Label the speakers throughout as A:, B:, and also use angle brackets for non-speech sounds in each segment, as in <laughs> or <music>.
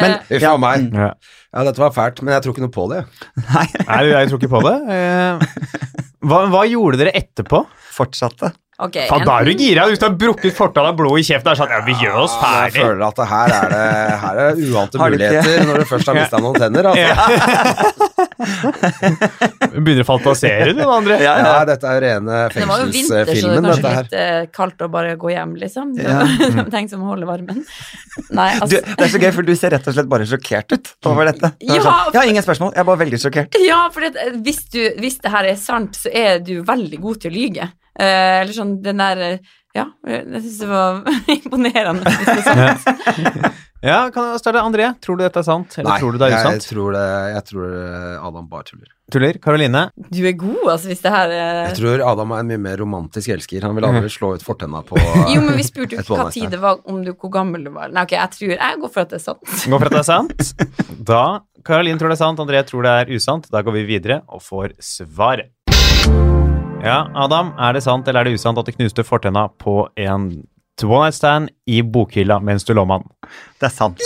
A: Men
B: Uff a meg.
C: Ja.
B: Ja, dette var fælt, men jeg tror ikke noe på det.
D: Nei,
C: Nei, jeg tror ikke på det. Eh, Hva, hva gjorde dere etterpå?
D: fortsatte.
A: ok.
C: Faen, da er du gira! Hvis du har brukket fortanna blod i kjeften, er det sånn ja, vi gjør oss
B: Jeg
C: ferdig.
B: føler at det her er det her er
C: <laughs>
B: uante
D: Har du ikke-
B: muligheter når du først har mista noen tenner. Altså.
C: <laughs> Begynner å fantasere, du, den andre.
D: Ja,
B: Ja,
D: ja.
B: dette er jo rene
A: Det var jo vinter, så det er
B: fengselsfilmen,
A: kanskje
B: dette her.
A: litt eh, kaldt å bare gå hjem, liksom.
D: Ja.
A: <laughs> Tenk som å holde varmen. Nei,
D: Du,
A: altså.
D: det er så gøy, for du ser rett og slett bare sjokkert ut over dette. Det var
A: Ja,
D: sånn, ja, ingen spørsmål. Jeg er bare veldig sjokkert.
A: Ja, for det, hvis, du, hvis det her er sant, så er du veldig god til å lyge. Eh, eller sånn den der eh, Ja, jeg syns det var <laughs> imponerende. hvis det er
D: <laughs>
A: sant.
C: Ja, kan, Starte, André, tror du dette er sant, eller
B: Nei,
C: tror du det er
B: jeg,
C: usant?
B: tror det, jeg tror eh, Adam bare tuller.
C: Tuller. Karoline?
A: Du er god, altså, hvis det her
B: Jeg
A: er
B: tror Adam er en mye mer romantisk elsker. Han vil
C: Mhm.
B: aldri slå ut fortenna på
A: <laughs> Jo, men vi
D: <laughs>
A: spurte jo
B: Et
A: ikke hva
B: one-night
A: tid
B: stand.
A: det var, om du hvor gammel du var. Nei, ok, jeg tror Jeg går for at det er sant.
C: Går for at det er sant. Da Karoline tror det er sant, André tror det er usant. Da går vi videre og får svaret. Ja, Adam, er det sant eller er det usant at du knuste fortenna på en one night stand i bokhylla mens du lå med han?
D: Det er sant.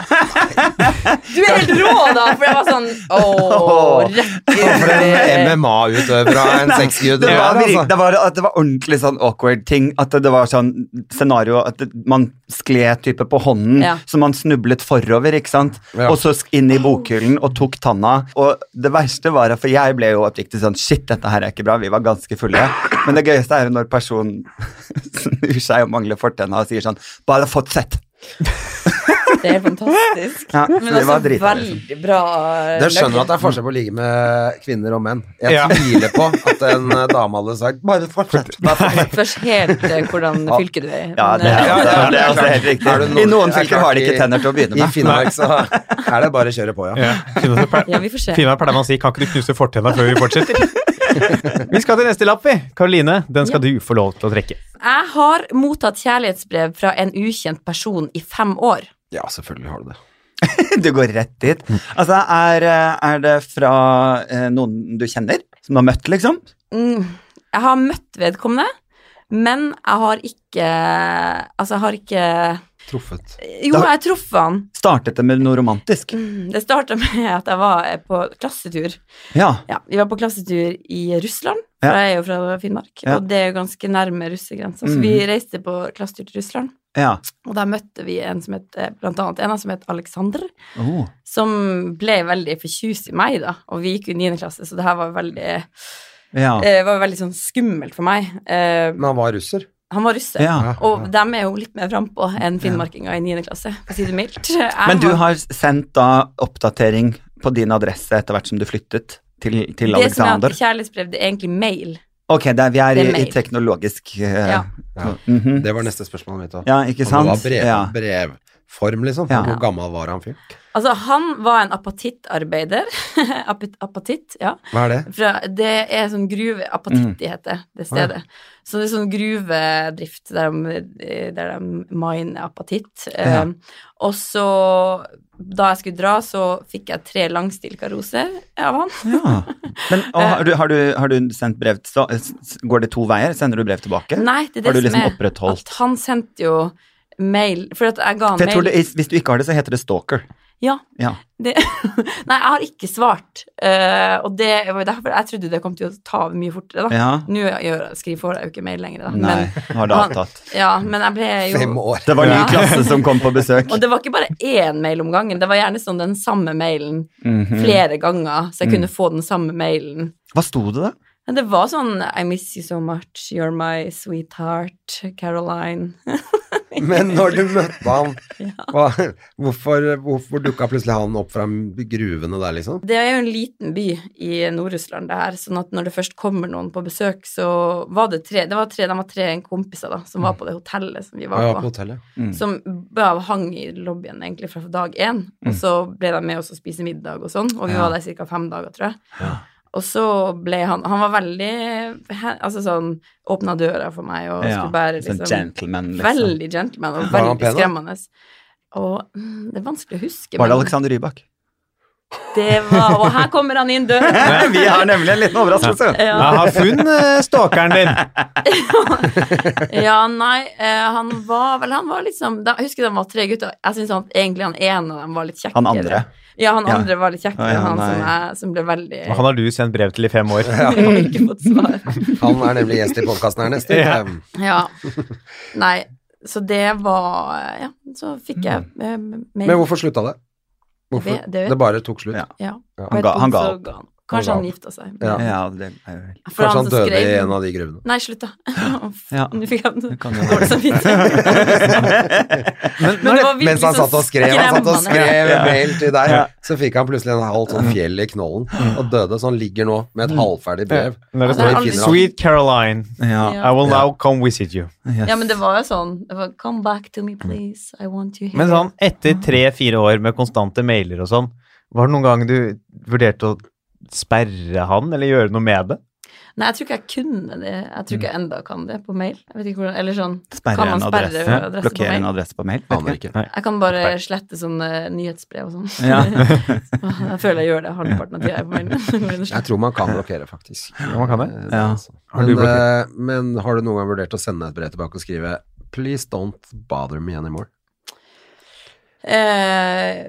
A: Du er helt rå, da! For jeg var <laughs> sånn Ååå, rett
B: For en MMA-utøver av
A: <laughs>
B: en sexgud.
D: Det
B: der,
D: var, virk-
B: altså.
D: det, var, at det var ordentlig sånn awkward ting. At det var sånn scenario at det- man skled type på hånden,
A: Ja.
D: så man snublet forover, ikke sant.
B: Ja.
D: Og så sk- inn i bokhyllen og tok tanna. Og det verste var at For jeg ble jo oppriktig sånn Shit, dette her er ikke bra. Vi var ganske fulle. Men det gøyeste er jo når personen <laughs> snur seg og mangler fortenna og sier sånn Bare fått sett.
A: Det er fantastisk.
D: Ja, <laughs> så
A: Men
D: det var
A: altså,
D: drita, liksom.
A: veldig bra
B: Dere skjønner at det er forskjell på å ligge med kvinner og menn. Jeg
C: Ja.
B: tviler på at en eh, dame hadde sagt 'bare
C: <laughs>
B: fortsett'.
A: løgn. Først helt eh, hvordan fylke du er i.
D: Ja,
A: Men,
D: det er,
A: eh,
B: Ja, ja,
D: det er også
B: klart. Er
D: helt
B: du
D: riktig.
B: nord-
D: I noen
B: er
D: fylker
B: klart
D: har de ikke
B: i-
D: tenner til å begynne
B: I
D: med.
B: Finnmark så er det bare å kjøre på, ja.
C: Finnmark
A: Ja, vi får se.
C: pleier man å si 'kan ikke du knuse fortenna før vi fortsetter'?
B: <laughs>
C: Vi skal til neste lapp, vi. Karoline, den skal du få lov til å trekke.
A: Jeg har mottatt kjærlighetsbrev fra en ukjent person i fem år.
B: Ja, selvfølgelig har du det.
D: <laughs> Du går rett dit. Altså, er, eh, er det fra eh, noen du kjenner? Som du har møtt, liksom?
A: Mm, Jeg har møtt vedkommende, men jeg har ikke Altså, jeg har ikke
B: Truffet.
A: Jo, jeg har truffet han.
D: Startet det med noe romantisk?
A: Mm, Det starta med at jeg var eh, på klassetur.
D: Ja.
A: Ja, Vi var på klassetur i Russland,
D: Ja.
A: for jeg er jo fra Finnmark.
D: Ja.
A: Og det er jo ganske nærme russegrensa, så vi reiste på klassetur til Russland.
D: ja.
A: Og der møtte vi en som het, eh, blant annet en som het Aleksander.
D: Oh.
A: som ble veldig forkjust i meg, da. Og vi gikk jo i 9. klasse, så det her var veldig,
D: ja.
A: eh, var veldig sånn skummelt for meg. Eh,
B: Men han var russer.
A: han var russer,
D: ja.
A: og dem er jo litt mer frampå enn finnmarkinger i 9. klasse, for å si det mildt. Jeg
D: <laughs> Men du har sendt da oppdatering på din adresse etter hvert som du flyttet til, til
A: Det som er
D: Alexander?
A: at kjærlighetsbrev, det er egentlig mail.
D: Ok, det er, vi er
A: Det er
D: i, i
A: mail.
D: teknologisk eh,
A: Ja.
B: Ja.
D: mhm.
B: Det var neste spørsmålet mitt òg.
D: ja, ikke
B: Om det
D: sant?
B: var brev,
D: Ja.
B: brev form, liksom.
D: Ja.
B: Hvor gammel var han fyren?
A: Altså, han var en <laughs> apatittarbeider. Apat- apatitt, ja.
B: Hva er det?
A: Fra, det er sånn gruve
D: Mm.
A: Apatitt, de heter det stedet. Så det er sånn gruvedrift der de, eh, der de miner apatitt.
D: Ja.
A: Um, og så, da jeg skulle dra, så fikk jeg tre langstilka roser av han.
D: Ja. <laughs> Men og, har, du, har, du, har du sendt brev til så- s- s- Går det to veier? Sender du brev tilbake?
A: Nei, det er det
D: Har du
A: som
D: liksom
A: er
D: opprettholdt
A: at han sendte jo mail For at jeg ga han
D: For jeg
A: mail.
D: tror det, Hvis du ikke har det, så heter det stalker.
A: Ja.
D: Ja.
A: Det, <laughs> nei, jeg har ikke svart. Eh, og det var jo derfor jeg trodde det kom til å ta over mye fortere, da.
D: ja.
A: Nå gjør, skriver får jeg jo ikke mail lenger, da.
D: Nei,
A: Men,
D: nå har det
A: han-
D: avtatt.
A: ja, men jeg ble jo
B: Fem år.
D: Det var ny
A: Ja.
D: klasse som kom på besøk.
A: <laughs> Og det var ikke bare én mail om gangen, det var gjerne sånn den samme mailen
D: Mhm.
A: flere ganger, så jeg
D: Mm.
A: kunne få den samme mailen.
D: Hva sto det, da?
A: Men det var sånn I miss you so much, you're my sweetheart, Caroline.
B: <laughs> Men når du møtte
A: <laughs>
B: han, hva, hvorfor, hvorfor dukka plutselig han opp fra gruvene der, liksom?
A: Det er jo en liten by i Nord-Russland, det her, sånn at når det først kommer noen på besøk, så var det tre Det var tre, de var tre kompiser da, som var på det hotellet som vi
B: Han
A: var
B: var
A: på.
B: på hotellet.
D: Mm.
A: Som bare hang i lobbyen egentlig fra dag én. Og så ble de med oss og spise middag og sånn, og vi
D: Mm. Ja.
A: var der ca. fem dager, tror jeg. Og så ble han Han var veldig he- Altså sånn Åpna døra for meg og
D: Ja,
A: skulle bære
D: sånn
A: liksom,
D: gentleman, liksom.
A: Veldig gentleman og
B: Var han
A: veldig
B: pen, da?
A: skremmende. Og mm, Det er vanskelig å huske,
D: Var det
A: men
D: Alexander Rybak?
A: det var Og her kommer han inn døra!
D: <laughs> Vi har nemlig en liten
B: <laughs>
D: overraskelse.
A: Ja.
C: Jeg har funnet eh, stalkeren din!
A: Ja, nei, eh, han var vel Han var liksom da, Jeg husker de var tre gutter. Jeg syns han, egentlig han ene av dem var litt kjekkere.
D: Han andre.
A: Ja, han
D: Ja.
A: andre var litt kjekkere
D: Å, ja,
A: enn han som,
D: nei.
A: jeg, som ble veldig
C: Og Han har du sendt brev til i fem år.
A: <laughs> Jeg har ikke fått svar.
B: Han er nemlig gjest i podkasten her neste
C: Ja.
B: uke.
A: Ja. Nei, så det var Ja, så fikk jeg eh, mail.
B: Men hvorfor slutta det? Hvorfor?
A: Det- det vet-
B: Det bare tok slutt.
D: Ja.
A: Ja.
B: Ja.
A: På
D: Han
A: et
D: ga-
A: punkt
D: han ga
A: så
D: opp.
A: ga han- Kanskje
B: Han ga
A: han
B: opp.
A: gifta seg.
B: Ja.
D: Ja, det er jo vel
A: For
B: Kanskje han
A: som
B: døde
A: skrev-
B: i en av de gruvene.
A: <laughs> Nei, slutt, da. <laughs>
D: Ja.
A: Nå fikk jeg
D: Det
A: det
D: kan jo
A: dårlig
D: være.
B: <laughs>
A: samvittighet. Men det var virkelig sånn
B: Mens han
A: så
B: satt og skrev, han satt og
A: skremmende.
B: skrev en mail til deg,
D: Ja.
B: så fikk han plutselig en halvt sånn fjell i knollen og døde. Så han ligger nå med et halvferdig brev.
C: Når det
A: Ja, det er
C: står
A: aldri-
C: 'Sweet Caroline,
D: Ja.
C: I will now come visit you'.
D: yes.
A: Ja, men det var jo sånn det var, Come back to me, please. I want you here.
C: Men sånn, etter tre-fire år med konstante mailer og sånn, var det noen gang du vurderte å sperre han, eller gjøre noe med det?
A: Nei, jeg tror ikke jeg kunne det. Jeg tror ikke jeg enda kan det på mail. Jeg vet ikke hvordan, eller sånn
D: Sperre
A: Kan
D: en
A: man sperre
D: adresse.
A: adresse på
D: Blokkere en
A: mail?
D: adresse på mail.
B: Aner
D: Vet ikke.
B: ikke.
A: Jeg kan bare
D: Sperre.
A: slette sånne nyhetsbrev og sånn.
D: Ja.
A: Jeg føler jeg gjør det halvparten av tida jeg er på <laughs> mailen.
B: Jeg tror man kan blokkere, faktisk.
C: Ja, man kan det.
B: Eh,
D: Ja.
B: altså.
C: Har du
B: men, eh, men har du noen gang vurdert å sende et brev tilbake og skrive Please don't bother me anymore.
A: Eh,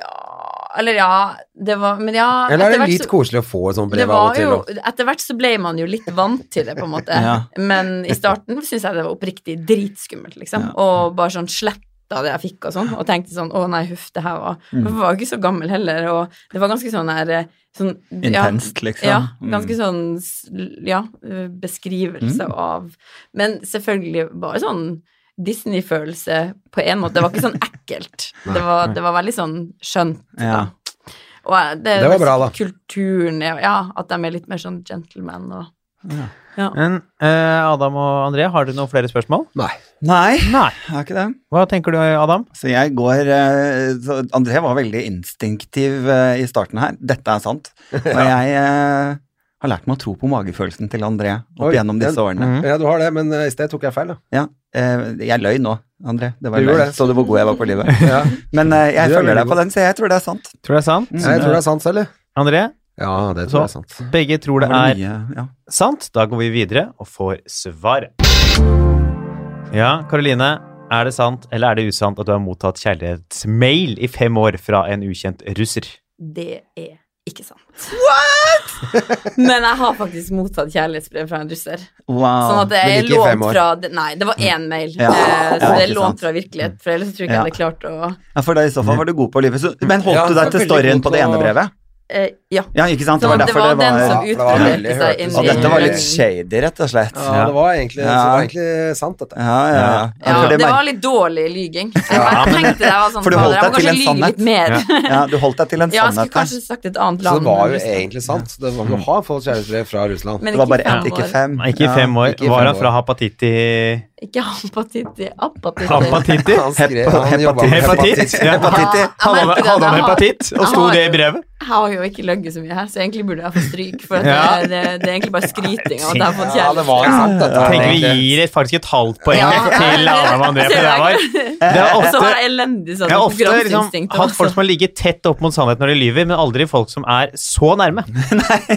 A: ja Eller ja, det var Men ja
B: Eller
A: etter
B: er det
A: hvert
B: litt
A: så-
B: koselig å få et sånt
A: det
B: brev av
A: var
B: og til?
A: jo,
B: og-
A: etter hvert så ble man jo litt vant til det, på
B: <laughs>
A: en måte.
D: Ja.
A: Men i starten syntes jeg det var oppriktig dritskummelt, liksom. Og bare sånn sletta det jeg fikk og sånn, og tenkte sånn å nei, huff, det her var
B: Mm.
A: Men Jeg var jo ikke så gammel heller, og det var ganske sånn her eh, sånn, <laughs> ja,
D: Intenst, liksom.
A: Ja,
D: Mm.
A: ganske sånn s- ja, eh, beskrivelse av Men selvfølgelig bare sånn Disney-følelse på en måte. Det var ikke sånn ekkelt. Det var, det var veldig sånn skjønt.
D: Ja.
A: Og eh, det,
B: Det var
A: er
B: bra, da.
A: Kulturen, ja, ja, at de er litt mer sånn gentleman og
C: Men eh, Adam og André, har du noen flere spørsmål?
B: Nei.
D: Nei,
C: Nei.
D: jeg har ikke det.
C: Hva tenker du, Adam?
D: Så jeg går eh, så André var veldig instinktiv eh, i starten her. Dette er <laughs> sant. Og jeg eh, har lært meg å tro på magefølelsen til André opp
B: Oi,
D: gjennom disse
B: den-
D: årene.
B: Ja, du har det, men eh, i sted tok jeg feil, da.
D: Ja, eh, jeg løy nå, André. Det var
B: Du gjorde
D: løgn.
B: det.
D: Så du hvor god jeg var på <laughs> livet?
B: Ja.
D: Men eh,
B: Du
D: jeg
B: er veldig
D: følger deg
B: god.
D: på den, så jeg tror det er sant.
C: Tror det er sant?
D: Mm.
B: Nei, Jeg tror det er sant, eller?
C: André,
B: Ja, det
C: Så-
B: tror jeg er sant.
C: begge tror
D: Det
C: det er
D: mye, ja.
C: sant. Da går vi videre og får svar. Ja, Karoline. Er det sant eller er det usant at du har mottatt kjærlighetsmail i fem år fra en ukjent russer?
A: Det er ikke sant. What?! <laughs> Men jeg har faktisk mottatt kjærlighetsbrev fra en russer. Sånn
D: Wow.
A: at det
B: men
A: er
B: ikke i fem
A: lånt
B: år.
A: fra det- Nei, det var én mail.
D: Ja.
A: eh, Så
D: Ja,
A: det er
D: ikke sant.
A: lånt fra virkelighet, for ellers tror jeg ikke jeg hadde klart å
D: Ja, for da i så fall var du god på livet. Så, men holdt
B: Ja,
D: du deg til
B: veldig
D: storyen
B: god
D: på det
B: på-
D: ene brevet?
A: eh, Ja.
D: Ja, ikke sant?
A: Så det
D: derfor
A: var den som
B: Ja, for det var
A: utbroderte
B: veldig
A: seg
B: hørtes
A: inn
D: sånn. Og
A: i
B: ut.
D: dette var litt
A: løgnen.
D: shady, rett og slett.
B: Ja, det var egentlig,
D: Ja.
B: det var egentlig sant, dette.
D: Ja, ja, ja.
A: Ja,
D: for,
A: det
D: det
A: var
D: mer-
A: litt dårlig lyging. Jeg bare tenkte det var sånn
D: for du
A: fader,
D: holdt
A: jeg
D: deg
A: må
D: til
A: kanskje
D: en
A: lyge
D: sannhet.
A: litt mer.
D: Ja, du holdt deg til en
A: <laughs> Ja, jeg skulle
D: sannhet. der.
A: kanskje sagt et
B: Så
A: annet land.
B: det var jo
A: men Russland.
B: egentlig sant. Det var, du har fått kjærestebrev fra Russland.
A: Men
D: Det var
A: ikke
D: bare ett,
A: i fem
D: ikke
A: år.
D: fem.
C: Nei, Ikke i
D: Ja,
C: fem år.
B: ikke i fem
C: Var han
B: år.
C: fra hepatitt i <laughs>
A: Ikke eh, hepatitt i apatitt.
C: Hepatitt?
B: Han skrev, han
D: Hepatitt.
B: jobba med hepatitt.
C: Hepatitt? Ja.
A: Hepatitt i.
C: Hadde han- hadde han hepatitt, og sto det i brevet?
A: Jeg har jo ikke løyet så mye her, så egentlig burde jeg få stryk. For at
C: Ja.
A: det, det, det er egentlig bare skryting av at jeg har fått
B: Ja, det var
A: kjærlighet.
B: sant, dette. her,
C: Tenker vi
B: egentlig.
C: gir et- faktisk et halvt poeng
A: Ja.
C: <laughs> til
A: <laughs>
C: Adam André for det der var. Det er
A: Og så har
C: ofte
A: jeg elendig sånn
C: jeg har ofte liksom,
A: konkurranseinstinkt.
C: hatt
A: også.
C: folk som har ligget tett opp mot sannheten når de lyver, men aldri folk som er så nærme.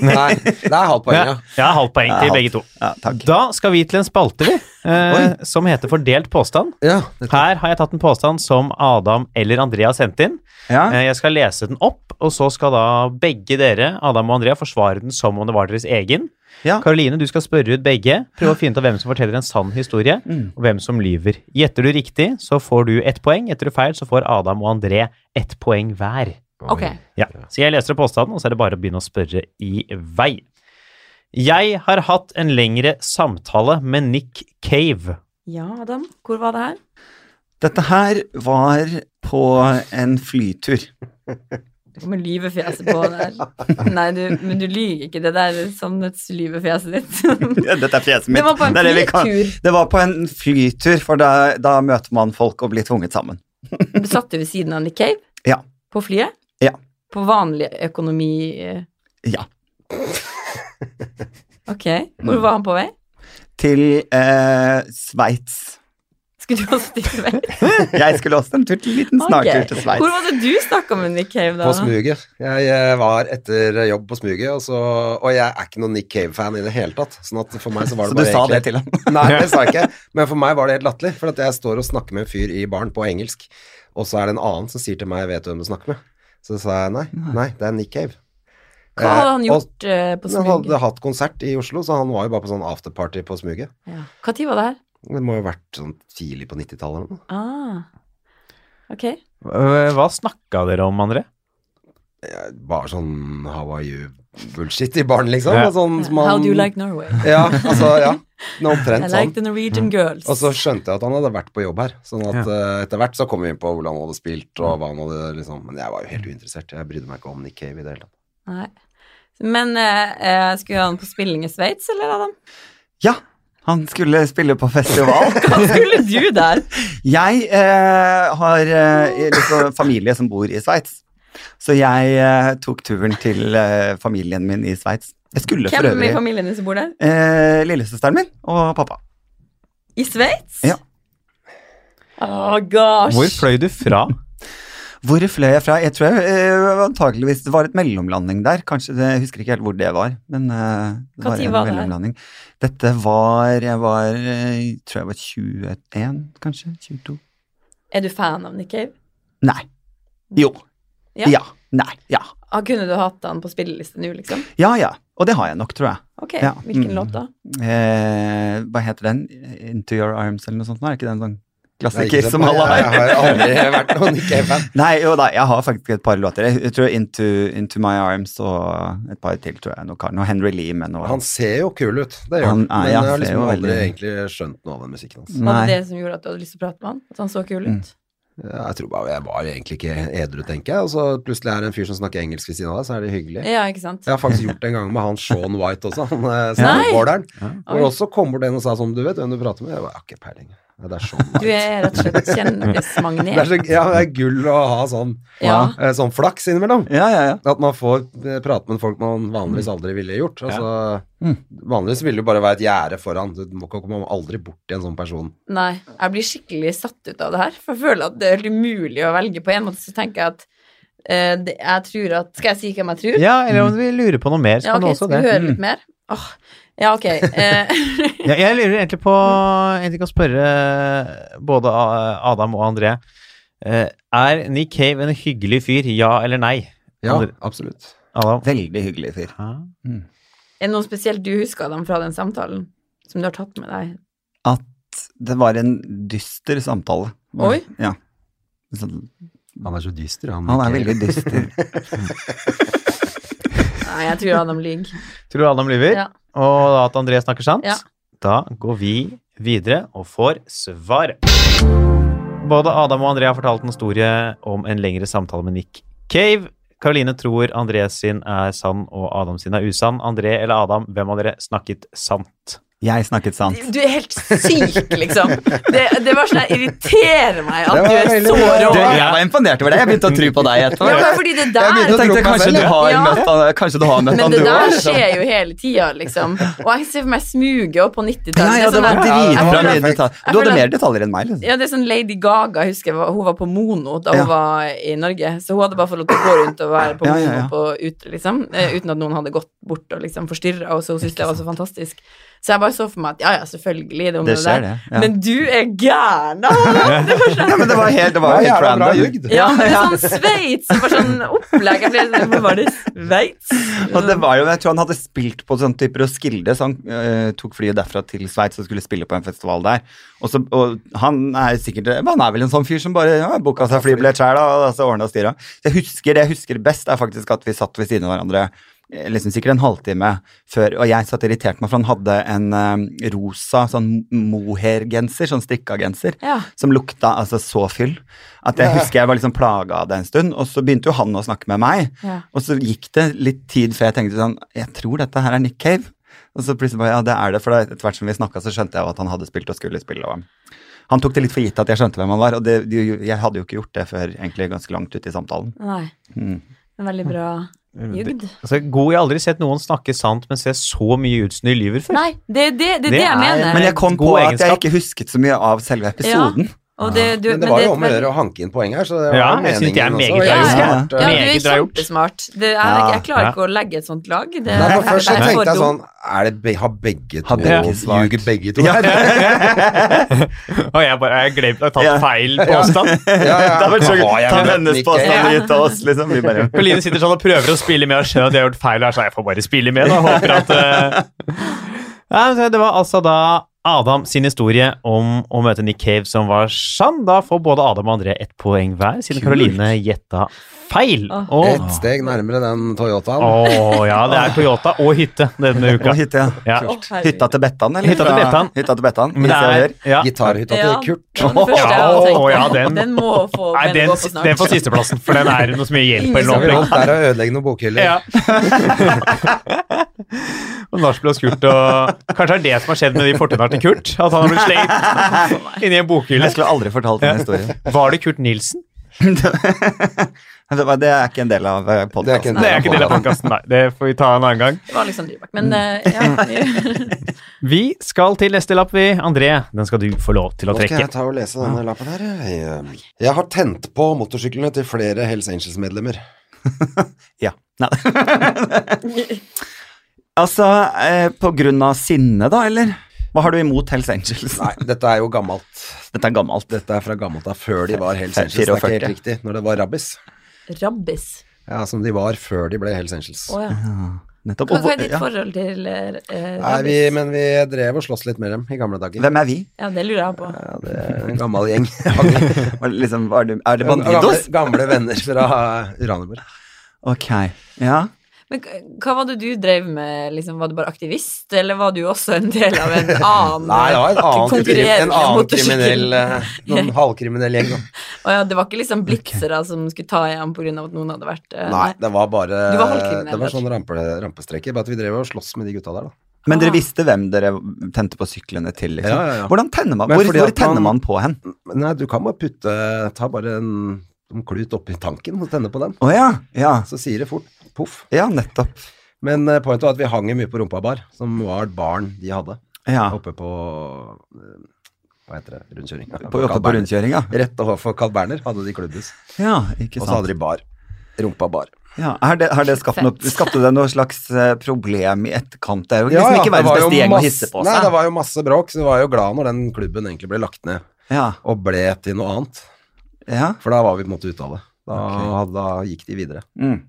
B: Nei, det er halvt poeng,
C: Ja,
B: ja.
C: ja halvt poeng til begge to.
D: Ja, takk.
C: Da skal vi til en spalte, vi, eh, som heter Fordelt påstand.
B: ja.
C: Her har jeg tatt en påstand som Adam eller Andrea har sendt inn.
D: Ja.
C: Eh, Jeg skal lese den opp, og så skal da begge dere, Adam og Andrea, forsvare den som om det var deres egen.
D: Ja.
C: Karoline, du skal spørre ut begge. Prøve å finne ut av hvem som forteller en sann historie,
D: Mm.
C: og hvem som lyver. Gjetter du riktig, så får du ett poeng. Gjetter du feil, så får Adam og André ett poeng hver.
A: Ok.
C: Ja, så jeg leser opp påstanden, og så er det bare å begynne å spørre i vei. Jeg har hatt en lengre samtale med Nick Cave.
A: Ja, Adam, hvor var det her?
D: Dette her var på en flytur. <laughs>
A: Du kommer lyvefjeset på der. Nei, du, men du lyver ikke. Det der sannhetslyvefjeset ditt.
D: <laughs> Ja, Dette er fjeset mitt.
A: Det var på en
D: Det er det vi kan-
A: flytur.
D: Det var på en flytur, for da, da møter man folk og blir tvunget sammen.
A: Du satt jo ved siden av Nick Cave
D: Ja.
A: på flyet.
D: Ja.
A: På vanlig økonomi... eh,
D: Ja.
A: Ok, hvor var han på vei?
D: Til eh, Sveits.
A: Skulle du også til vei?
D: Jeg skulle også en tur til <laughs> en liten snartur
A: Ok.
D: til
A: Hvor
D: Sveits.
A: var det du snakka med Nick Cave, da?
B: På smuget. Jeg eh, var etter jobb på smuget, og, så, og jeg er ikke noen Nick Cave-fan i det hele tatt. Sånn at for meg så var
D: Så
B: det
D: du
B: bare
D: sa det
B: egentlig-
D: til ham? <laughs>
B: Nei, det sa jeg ikke. Men for meg var det helt latterlig, for at jeg står og snakker med en fyr i baren på engelsk, og så er det en annen som sier til meg 'vet du hvem du snakker med'? Så sa jeg nei, nei, det er Nick Cave.
A: Hva hadde
B: Eh,
A: han
B: og-
A: gjort eh, på
B: Han
A: smuget?
B: hadde hatt konsert i Oslo, så han var jo bare på sånn afterparty på smuget.
A: Ja. Hva tid var det her?
B: Det må jo ha vært sånn tidlig på 90-tallet eller noe.
A: Ah. Ok.
C: Øh, Hva snakka dere om, André?
B: Eh, Bare sånn how are you-bullshit i baren, liksom.
C: Ja.
B: og Sånn, som
A: How
B: han-
A: do you
D: <laughs>
A: like Norway?
B: <laughs> Ja, altså, ja. Nå
A: <laughs> I
B: Omtrent sånn.
A: like the
D: Mm.
A: Norwegian girls.
B: Og så skjønte jeg at han hadde vært på jobb her. Sånn at eh, etter hvert så kom vi inn på hvordan han hadde spilt og hva han hadde liksom Men jeg var jo helt uinteressert. Jeg brydde meg ikke om Nick Cave i det hele tatt.
A: Nei. Men eh, eh, skulle han på spilling i Sveits, eller, Adam?
D: Ja, han skulle spille på festival.
A: Hva skulle du der?
D: Jeg eh, har eh, liksom familie som bor i Sveits, så jeg eh, tok turen til eh, familien min i Sveits. Jeg skulle for
A: Hvem i
D: øvrig
A: familien din som bor der?
D: eh, Lillesøsteren min og pappa.
A: I Sveits?
D: Ja.
A: Å, gosh.
C: Hvor fløy du fra?
D: Hvor fløy jeg fra? Jeg tror jeg, eh, antakeligvis det var et mellomlanding der. Kanskje det, Jeg husker ikke helt hvor det var, men eh, det
A: Hva
D: var
A: tid
D: en
A: var det her?
D: mellomlanding. Dette var Jeg var eh, jeg tror jeg var 21, kanskje? 22?
A: Er du fan av Nick Cave?
D: Nei. Jo.
A: Ja.
D: Ja. Nei. Ja.
A: Ah, kunne du hatt han på spilleliste nå, liksom?
D: Ja, ja. Og det har jeg nok, tror jeg.
A: Ok,
D: Ja.
A: hvilken
D: Mm.
A: låt da?
D: Eh, hva heter den? Into Your Arms eller noe sånt? nå? Er ikke den sånn klassiker
B: Jeg-
D: som alle
B: Jeg
D: har?
B: har aldri vært noen Nick Cave-fan.
D: Nei, jo da, jeg har faktisk et par låter. Jeg tror Into, Into My Arms og et par til, tror jeg. Noe, noe Henry Lee med noe
B: Han ser jo kul ut, det gjør han.
D: Han-
B: Men
D: ja,
B: jeg har
D: ser jo
B: liksom aldri
D: veldig-
B: egentlig skjønt noe av den musikken hans.
D: Nei.
A: Var det det som gjorde at du hadde lyst til å prate med han? At han så kul ut?
B: Jeg tror bare jeg var egentlig ikke edru, tenker jeg. Og så plutselig er det en fyr som snakker engelsk ved siden av deg, så er det hyggelig.
A: Ja, ikke sant?
B: Jeg har faktisk gjort det en gang med han Sean White også, han eh,
A: Nei!
B: snowboarderen.
A: Oi.
B: Hvor også kom bort en og sa sånn, du vet hvem du prater med? Jeg bare, jeg har ikke peiling. Ja, Det er Sean
A: <laughs> Du er rett og
B: <laughs>
A: slett
B: Det er,
A: kjendismagnet.
B: så, ja, det er gull å ha sånn,
A: Ja.
B: eh, sånn flaks innimellom.
D: Ja, ja, ja.
B: At man får eh, prate med folk man vanligvis aldri ville gjort. Altså, Vanligvis ville det bare være et gjerde foran. Du må ikke komme aldri borti en sånn person.
A: Nei, jeg blir skikkelig satt ut av det her. For jeg føler at det er helt umulig å velge. På en måte så tenker jeg at eh, det, jeg tror at Skal jeg si hvem jeg tror?
C: Ja, eller om vi lurer på noe mer, så
A: Ja,
C: kan du
A: ok,
C: også
A: skal vi
C: det.
A: høre
B: Mm.
A: litt mer? Åh, ja, ok. Eh, <laughs>
C: Ja, jeg lurer egentlig på Jeg kan spørre både A- Adam og André. Eh, Er Nick Cave en hyggelig fyr, ja eller nei?
B: Ja,
C: Aldri.
B: absolutt.
C: Adam?
D: Veldig hyggelig fyr.
A: er det noe spesielt du husker dem fra den samtalen? Som du har tatt med deg?
D: At det var en dyster samtale.
A: Oi.
D: Ja. Sånn-
B: Han er så dyster, han.
A: <laughs>
D: Han er veldig dyster.
A: Nei, jeg tror Adam lyver.
C: Tror du Adam lyver?
A: Ja.
C: Og at André snakker sant?
A: Ja.
C: Da går vi videre og får svaret. Både Adam og André har fortalt en historie om en lengre samtale med Nick Cave. Karoline tror André sin er sann og Adam sin er usann. André eller Adam, hvem av dere snakket sant?
D: Jeg snakket sant.
A: Du er helt syk, liksom. Det, det var sånn jeg irriterer meg at
B: Det
A: du
B: var
A: er
B: veldig
A: så
B: bra.
A: rå.
D: Du, jeg var imponert over det. Jeg begynte å tro på deg etterpå.
A: Ja, men fordi det
D: Jeg
A: der
D: begynte å
B: tro
D: tenke
B: på meg
D: kanskje,
B: selv,
D: du
B: ja.
D: har
A: Ja.
D: møtt han, kanskje du har møtt
A: Men
D: han,
A: det
D: du
A: der
D: også, liksom.
A: skjer jo hele tida, liksom. Og jeg ser for meg smuget òg på 90-tallet.
D: Ja, ja,
A: Det er
D: det var
A: sånn der-
B: dritbra.
D: dritbra
A: Jeg føler-
D: mye detaljer.
A: jeg
D: Du hadde
A: føler-
D: mer detaljer enn meg, liksom.
A: Ja, det er sånn Lady Gaga, husker jeg, var- hun var på Mono da hun
D: Ja.
A: var i Norge. Så hun hadde bare fått lov til å gå rundt og være på
D: Ja, ja,
A: Mono
D: ja.
A: på ute, liksom. eh, Uten at noen hadde gått bort og liksom forstyrra, og så hun syntes det var så fantastisk. Så jeg bare så for meg at ja, ja, selvfølgelig, det
D: Det
A: området
D: skjer,
A: der.
D: det. Ja.
A: Men du er
D: <laughs>
A: gæren, da! Det var sånn
D: Ja, men det var helt, det
B: Det
D: var
B: var
D: helt
B: jævla bra
D: random.
B: ljugd.
A: ja, men det er sånn Sveits og bare sånn opplegg. Jeg ble sånn, Hvor var det
D: <laughs>
A: Sveits?
D: Og det var jo, jeg tror han hadde spilt på sånn type Roskilde, så han eh, tok flyet derfra til Sveits og skulle spille på en festival der. Og, så, og han er sikkert Han er vel en sånn fyr som bare ja, booka seg flybillett sjæl og så ordna og styra. Så Jeg husker det jeg husker best, er faktisk at vi satt ved siden av hverandre eh, liksom sikkert en halvtime før, og jeg satt og irriterte meg, for han hadde en eh, rosa sånn mohair-genser, sånn strikka genser
A: Ja.
D: som lukta altså så fyll at jeg husker jeg var liksom plaga av det en stund. Og så begynte jo han å snakke med meg,
A: Ja.
D: og så gikk det litt tid før jeg tenkte sånn Jeg tror dette her er Nick Cave. Og så plutselig bare Ja, det er det. For da etter hvert som vi snakka, så skjønte jeg jo at han hadde spilt og skulle spille. Og han tok det litt for gitt at jeg skjønte hvem han var, og det, det- jeg hadde jo ikke gjort det før egentlig ganske langt ute i samtalen.
A: Nei.
D: Mm.
A: Veldig bra jugd.
C: Altså, god, jeg har aldri sett noen snakke sant, men se så mye ut som de lyver <laughs> før.
A: Nei, det er det, det, er det jeg
C: er-
A: mener.
D: Men jeg kom
C: God
D: på at jeg
C: egenskap.
D: ikke husket så mye av selve episoden.
A: og det, du,
B: Men det
A: men
B: var
A: er
B: jo om
A: et
B: å
A: veldig-
B: gjøre å hanke inn poeng her, så det var
C: Ja,
B: jo
C: jeg synes det er
B: meningen
C: meget
B: også.
A: bra
B: Ja, ja.
A: gjort. Ja, du er
C: Meget bra gjort.
A: kjempesmart. Det er,
D: Ja.
A: Jeg klarer ikke å legge et sånt lag. Det,
B: Nei, for først så
A: jeg er for
B: tenkte jeg
A: dum.
B: sånn er det, be- Har begge to
D: Har begge svart?
B: Ljuger begge to? <laughs>
D: Ja.
C: Og jeg bare jeg har glemt å ha tatt
D: Ja.
C: feil <laughs> påstand.
B: ja, ja.
D: <laughs> Det var så
B: Har
D: gøy.
B: jeg
D: Ta
B: møtt
D: hennes
B: Nick Cave?
D: påstander
A: Ja.
D: gitt av oss, liksom. Vi bare
C: Pauline sitter sånn og prøver å spille med og skjønner at de har gjort feil. Og er sånn, jeg får bare spille med, da. Håper at eh. ja, så Det var altså da Adam sin historie om å møte Nick Cave som var sann. Da får både Adam og André ett poeng hver, siden
D: Kult.
C: Karoline gjetta feil.
A: Åh.
C: Og,
B: Et steg nærmere den Toyotaen.
C: Å, ja, det er Toyota og hytte denne
D: Hva
C: uka.
D: hytte, ja.
C: Ja.
A: Å, herregud.
D: Hytta til Bettan, eller?
C: Hytta til
D: Fra-
C: Bettan.
D: Hytta til Bettan.
C: Men det er, ja.
B: Gitarhytta til
A: Ja.
B: Kurt.
A: Det var den første jeg hadde tenkt på.
C: Å, ja, den-
A: den må få
C: Nei,
A: den
C: den,
A: gå på snart.
C: den får sisteplassen, for den er noe så mye hjelp eller
B: Så
C: noe.
B: vi
C: opplegg.
B: holdt der og ødelegge noen bokhyller.
C: <laughs> og nachspiel og skurt og Kanskje det er det som har skjedd med de fortennene til Kurt? At han har blitt
B: <laughs>
C: slengt inni en bokhylle.
D: Jeg skulle aldri fortalt den historien.
C: Var det Kurt Nilsen?
D: Det var- det er ikke en del av eh,
B: Det er ikke en
D: podkasten.
C: Det er ikke del av podkasten, nei. Det får vi ta en annen gang.
A: Det var liksom Dyrbakk. Men
C: Mm.
A: eh, ja,
C: Vi skal til neste lapp, vi. André, den skal du få lov til å
B: Nå skal
C: trekke.
B: jeg ta og lese denne lappen her. jeg. Jeg har tent på motorsyklene til flere Hells Angels-medlemmer.
D: Ja. Nei. <laughs> altså, eh, på grunn av sinne, da, eller? Hva har du imot Hells Angels?
B: Nei, dette er jo gammelt.
D: Dette er gammelt.
B: Dette er fra gammelt av før de var Hells
D: Fe-
B: Angels. Det er ikke
D: 44.
B: helt riktig. Når det var Rabbis.
A: Rabbis.
B: Ja, som de var før de ble Hells Angels.
A: Å, ja.
D: Nettopp.
A: Hva
D: Og
A: hva er
D: hvor-
A: ditt
D: ja.
A: forhold til eh, eh,
B: Nei, vi,
A: rabbis?
B: men vi drev og sloss litt med dem i gamle dager.
D: Hvem er vi?
A: Ja, det lurer jeg på.
B: Ja, det er en gammel gjeng.
D: Var det Liksom, var det, er det
B: Gamle,
D: Bandidos?
B: gamle venner fra Uranienborg.
D: Ok. Ja.
A: Men k- hva var det du drev med? Liksom, var du bare aktivist, eller var du også en del av en annen eh,
B: Nei, det var en annen, krim,
A: konkurrerende
B: en annen
A: motorsykkel?
B: kriminell <laughs> eh, Noen halvkriminell gjeng. da.
A: Å ja, det var ikke liksom blitzere som skulle ta igjen pga. at noen hadde vært eh,
B: Nei, det var bare
A: Du var halvkriminell,
B: Det var
A: vet du.
B: sånn rampe, rampestreker. Bare at vi drev og sloss med de gutta der, da.
D: Men dere
A: Ah.
D: visste hvem dere tente på syklene til? Liksom.
B: Ja, ja, ja.
D: Hvordan tenner man,
B: Men
D: hvor,
B: fordi
D: hvor
B: at
D: tenner
B: man-
D: man på hen?
B: Men Nei, du kan bare putte Ta bare en, en klut oppi tanken og tenne på den.
D: Å ja, ja.
B: Så sier det fort poff.
D: Ja, nettopp.
B: Men eh, pointet var at vi hang jo mye på Rumpa bar, som var baren de hadde
D: Ja.
B: oppe på eh, Hva heter det? Rundkjøring.
D: På, oppe på rundkjøringa?
B: Rett overfor Carl Berner hadde de klubbhus,
D: Ja, ikke
B: og
D: sant.
B: så hadde de bar. Rumpa bar.
D: Ja, har det, har det skapt noe,
A: Fett.
D: skapte det noe slags eh, problem i etterkant? Det er jo liksom ikke verdens beste gjeng å hisse på
B: Nei,
D: seg.
B: det var jo masse bråk, så vi var jo glad når den klubben egentlig ble lagt ned,
D: Ja,
B: og ble til noe annet.
D: ja.
B: For da var vi på en måte ute av det. Da,
D: Ok.
B: da gikk de videre.
D: Mm.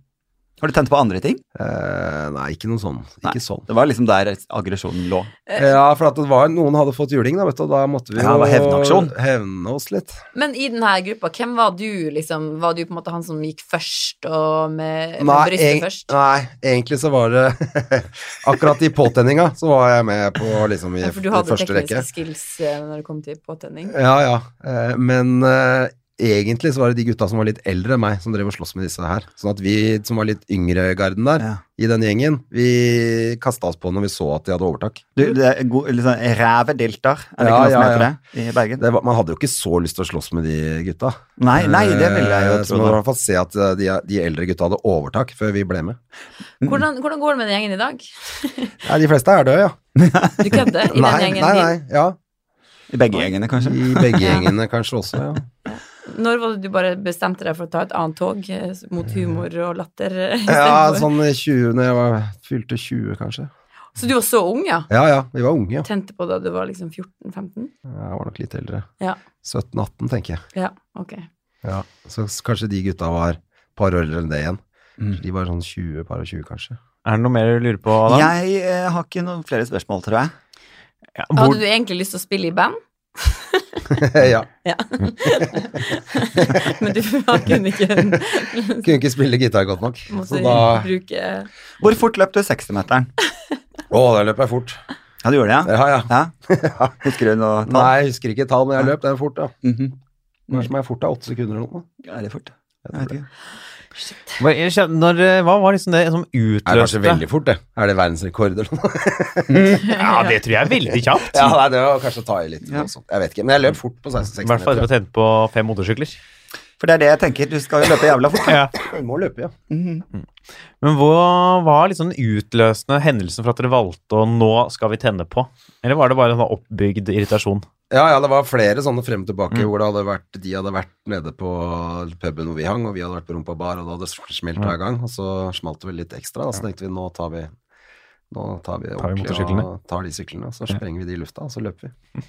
D: Har du tent på andre ting?
B: Eh, nei, ikke noe sånn.
D: Nei.
B: Ikke sånn.
D: Det var liksom der aggresjonen lå.
B: Ja, for at det var, noen hadde fått juling, da, vet du, og da måtte vi
D: Ja, det var
B: jo
D: hevnaksjon.
B: hevne oss litt.
A: Men i denne gruppa, hvem var du, liksom? Var du på en måte han som gikk først, og med, med
B: Nei,
A: brystet
B: eng-
A: først?
B: nei, egentlig så var det <laughs> Akkurat i påtenninga så var jeg med på liksom i,
A: Ja, for du
B: i
A: hadde
B: første
A: tekniske
B: rekke.
A: skills eh, når det kom til påtenning.
B: Ja, ja. Eh, Men eh, egentlig så var det de gutta som var litt eldre enn meg, som drev og sloss med disse her. Sånn at vi som var litt yngre i garden der,
D: Ja.
B: i den gjengen, vi kasta oss på når vi så at de hadde overtak.
D: Du, det er god, liksom, rævedilter, er det
B: Ja,
D: ikke noe
B: ja,
D: som
B: ja.
D: heter det i Bergen?
B: Det var, man hadde jo ikke så lyst til å slåss med de gutta.
D: Nei, nei, det ville jeg jo
B: Eh, Så
D: tro.
B: man må i
D: da.
B: hvert fall se at eh, de, de eldre gutta hadde overtak før vi ble med. Mm.
A: Hvordan, hvordan går det med den gjengen i dag?
B: Nei, de fleste er døde, ja. <laughs>
A: Du kødder i
B: Nei,
A: den gjengen
B: nei, nei, ja.
D: I begge gjengene, kanskje.
B: I begge gjengene kanskje også, ja.
A: din. Når var det du bare bestemte deg for å ta et annet tog eh, mot humor og latter? eh,
B: Ja,
A: istedenfor?
B: sånn 20, når jeg var, fylte 20 kanskje.
A: Så du var så ung, ja?
B: Ja, ja, vi var unge, ja.
A: Tente på da du var liksom 14-15?
B: Jeg var nok litt eldre.
A: Ja.
B: 17-18, tenker jeg.
A: Ja, ok.
B: Ja. Så s- kanskje de gutta var et par år eldre enn det igjen.
D: Mm.
B: De var sånn 20, par og 20 kanskje.
C: Er det noe mer du lurer på, Adam?
D: Jeg eh, har ikke noen flere spørsmål, tror jeg.
C: Ja,
A: Hadde
C: hvor,
A: du egentlig lyst til å spille i band?
B: <laughs> ja.
A: Men du <laughs> kunne ikke
B: Kunne ikke spille gitar godt nok.
A: Måtte
B: <laughs> Så da
A: bruke
D: Hvor fort løp du 60-meteren?
B: Å, da løp jeg fort.
D: Ja, du gjorde det, ja?
B: Ja, ja.
D: <laughs> Ja. Husker du noe tall?
B: Nei, jeg husker Mm. ikke tall, men jeg løp den fort, ja.
D: Mhm.
B: Hva er det som er fort, da? Åtte sekunder eller noe?
D: Ja, det er fort. Jeg vet ikke.
C: hvor, jeg skjønner- når, eh, hva var liksom det som
B: Det er kanskje
C: utløste
B: veldig fort, det. Er det verdensrekord eller noe?
C: Ja, det tror jeg er veldig
B: <laughs>
C: kjapt.
B: Ja, nei, det var kanskje å ta i litt.
D: Ja.
B: noe sånt. Jeg vet ikke, men jeg løp fort på
C: I
B: 16-16
C: hvert fall etter å
B: meter.
C: ha tent på fem motorsykler.
D: For det er det jeg tenker, du skal jo løpe jævla fort.
C: Ja.
B: Ja. Må løpe, ja.
D: Mhm.
C: Men hva var liksom den utløsende hendelsen for at dere valgte å nå skal vi tenne på? Eller var det bare en sånn oppbygd irritasjon?
B: Ja, ja, det var flere sånne frem og tilbake
D: Mm.
B: hvor det hadde vært, de hadde vært nede på puben hvor vi hang, og vi hadde vært på rumpa bar, og det hadde smelt hver gang, og så smalt det vel litt ekstra, da, så tenkte vi nå tar vi, nå tar vi ordentlig og
C: motorsyklene.
B: tar de syklene, og så sprenger vi de i lufta, og så løper vi.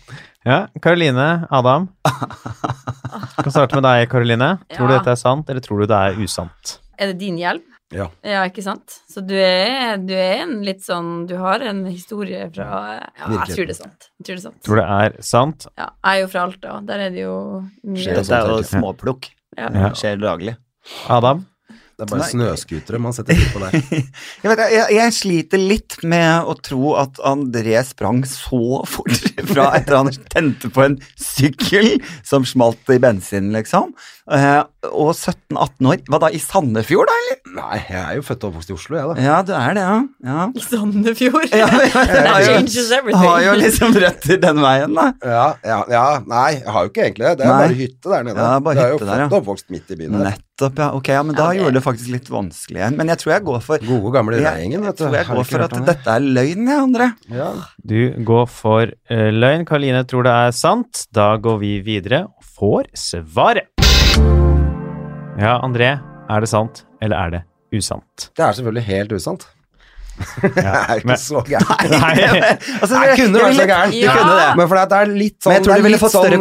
C: Ja, Karoline,
D: <laughs>
C: Adam. Vi kan starte med deg, Karoline. Tror du
A: Ja.
C: dette er sant, eller tror du det er usant?
A: Er det din hjelp?
B: Ja.
A: ikke sant? Så du er, du er en litt sånn Du har en historie fra Ja, jeg tror det er sant. Jeg tror det er sant.
C: Tror det er sant?
A: Ja, jeg er jo fra Alta, og der er det jo mye
B: Skjer det
D: Dette er jo
B: sånt,
D: småplukk.
A: Ja.
C: Ja.
D: Skjer daglig.
C: Adam?
B: Det er bare
D: Nei.
B: snøskutere man setter pris på
D: <laughs>
B: der.
D: Jeg, vet, jeg, jeg sliter litt med å tro at André sprang så fort <laughs> fra etter han tente på en sykkel som smalt i bensin, liksom. Eh, og 17-18 år. Hva da, i Sandefjord, da? eller?
B: Nei, jeg er jo født og oppvokst i Oslo, jeg da.
D: Ja, du er det, ja. ja.
A: I Sandefjord.
D: ja jeg,
A: <laughs> That
D: <laughs> har jo,
A: changes everything.
D: har jo liksom røtter den veien, da.
B: Ja, ja, ja, nei, jeg har jo ikke egentlig det. Det er
D: Nei.
B: bare hytte der nede.
D: Ja, bare
B: det er jo
D: hytte der, ja.
B: født og oppvokst midt i byen der.
D: Nettopp, ja. Ok, ja, men da
A: Ja, det-
D: gjorde det faktisk litt vanskelig igjen. Men jeg tror jeg går for
B: Gode gamle
D: jeg,
B: regjengen,
D: jeg
B: vet du.
D: tror jeg
B: Har du
D: går
B: ikke
D: for
B: hørt
D: at
B: om det?
D: dette er løgn, jeg, André.
B: Ja.
C: Du går for eh, løgn. Karoline tror det er sant. Da går vi videre og får svaret. Ja, André. Er det sant, eller er det usant?
B: Det er selvfølgelig helt
D: <laughs>
B: usant. Det er jo
C: men-
B: ikke så gærent.
C: Nei,
D: Altså,
B: Nei, kunne vært så gæren.
A: Ja. kunne det.
B: Men for det er litt sånn,
D: Men
B: det
D: jeg tror det
B: er
D: ville
B: litt
D: fått
B: sånn
D: større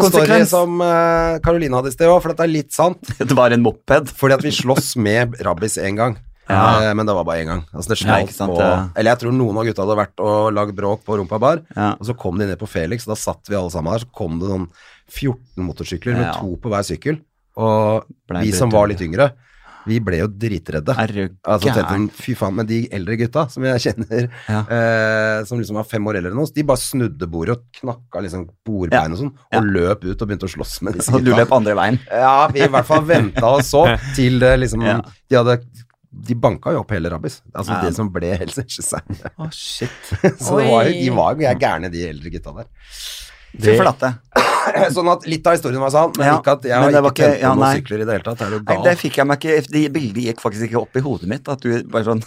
B: story
D: konsekvens.
B: som eh, Caroline hadde i sted òg, for det er litt sant.
D: Det var en moped.
B: Fordi at vi sloss med rabbis én gang.
D: Ja.
B: Eh, men det var bare én gang. Altså det
D: Ja,
B: smalt
D: ikke sant,
B: på
D: det-
B: Eller jeg tror noen av gutta hadde vært og lagd bråk på Rumpa bar,
D: Ja.
B: og så kom de ned på Felix, og da satt vi alle sammen der. Så kom det sånn 14 motorsykler med
D: Ja.
B: to på hver sykkel, og
D: Blei
B: vi
D: brutt
B: som var
D: ut.
B: litt yngre, vi ble jo dritredde.
D: Er du
B: Altså, tenkte
D: gæren?
B: jeg, fy faen, men de eldre gutta som jeg kjenner,
D: Ja.
B: eh, som liksom var fem år eldre enn oss, de bare snudde bordet og knakka liksom bordbein og sånn, og
D: Ja.
B: løp ut og begynte å slåss med disse
D: Og du
B: gutta.
D: løp andre veien.
B: Ja, vi i hvert fall venta og
D: <laughs>
B: så til det liksom
D: Ja.
B: De hadde de banka jo opp hele Rabbis, altså
D: Ja.
B: det som ble <laughs> Hells Angels. her.
D: Å, shit.
B: Så det var jo,
A: Oi.
B: de var jo gærne, de eldre gutta der. <clears throat>
D: Fy flate.
B: Sånn at litt av historien var sann, men
D: Ja,
B: ikke at jeg
D: men det
B: har
D: var
B: ikke
D: ikke-
B: tent på
D: ja,
B: noen
D: nei.
B: sykler i det hele tatt. Er du
D: Nei, det
B: gal?
D: fikk jeg meg ikke De bildene gikk faktisk ikke opp i hodet mitt. At du bare sånn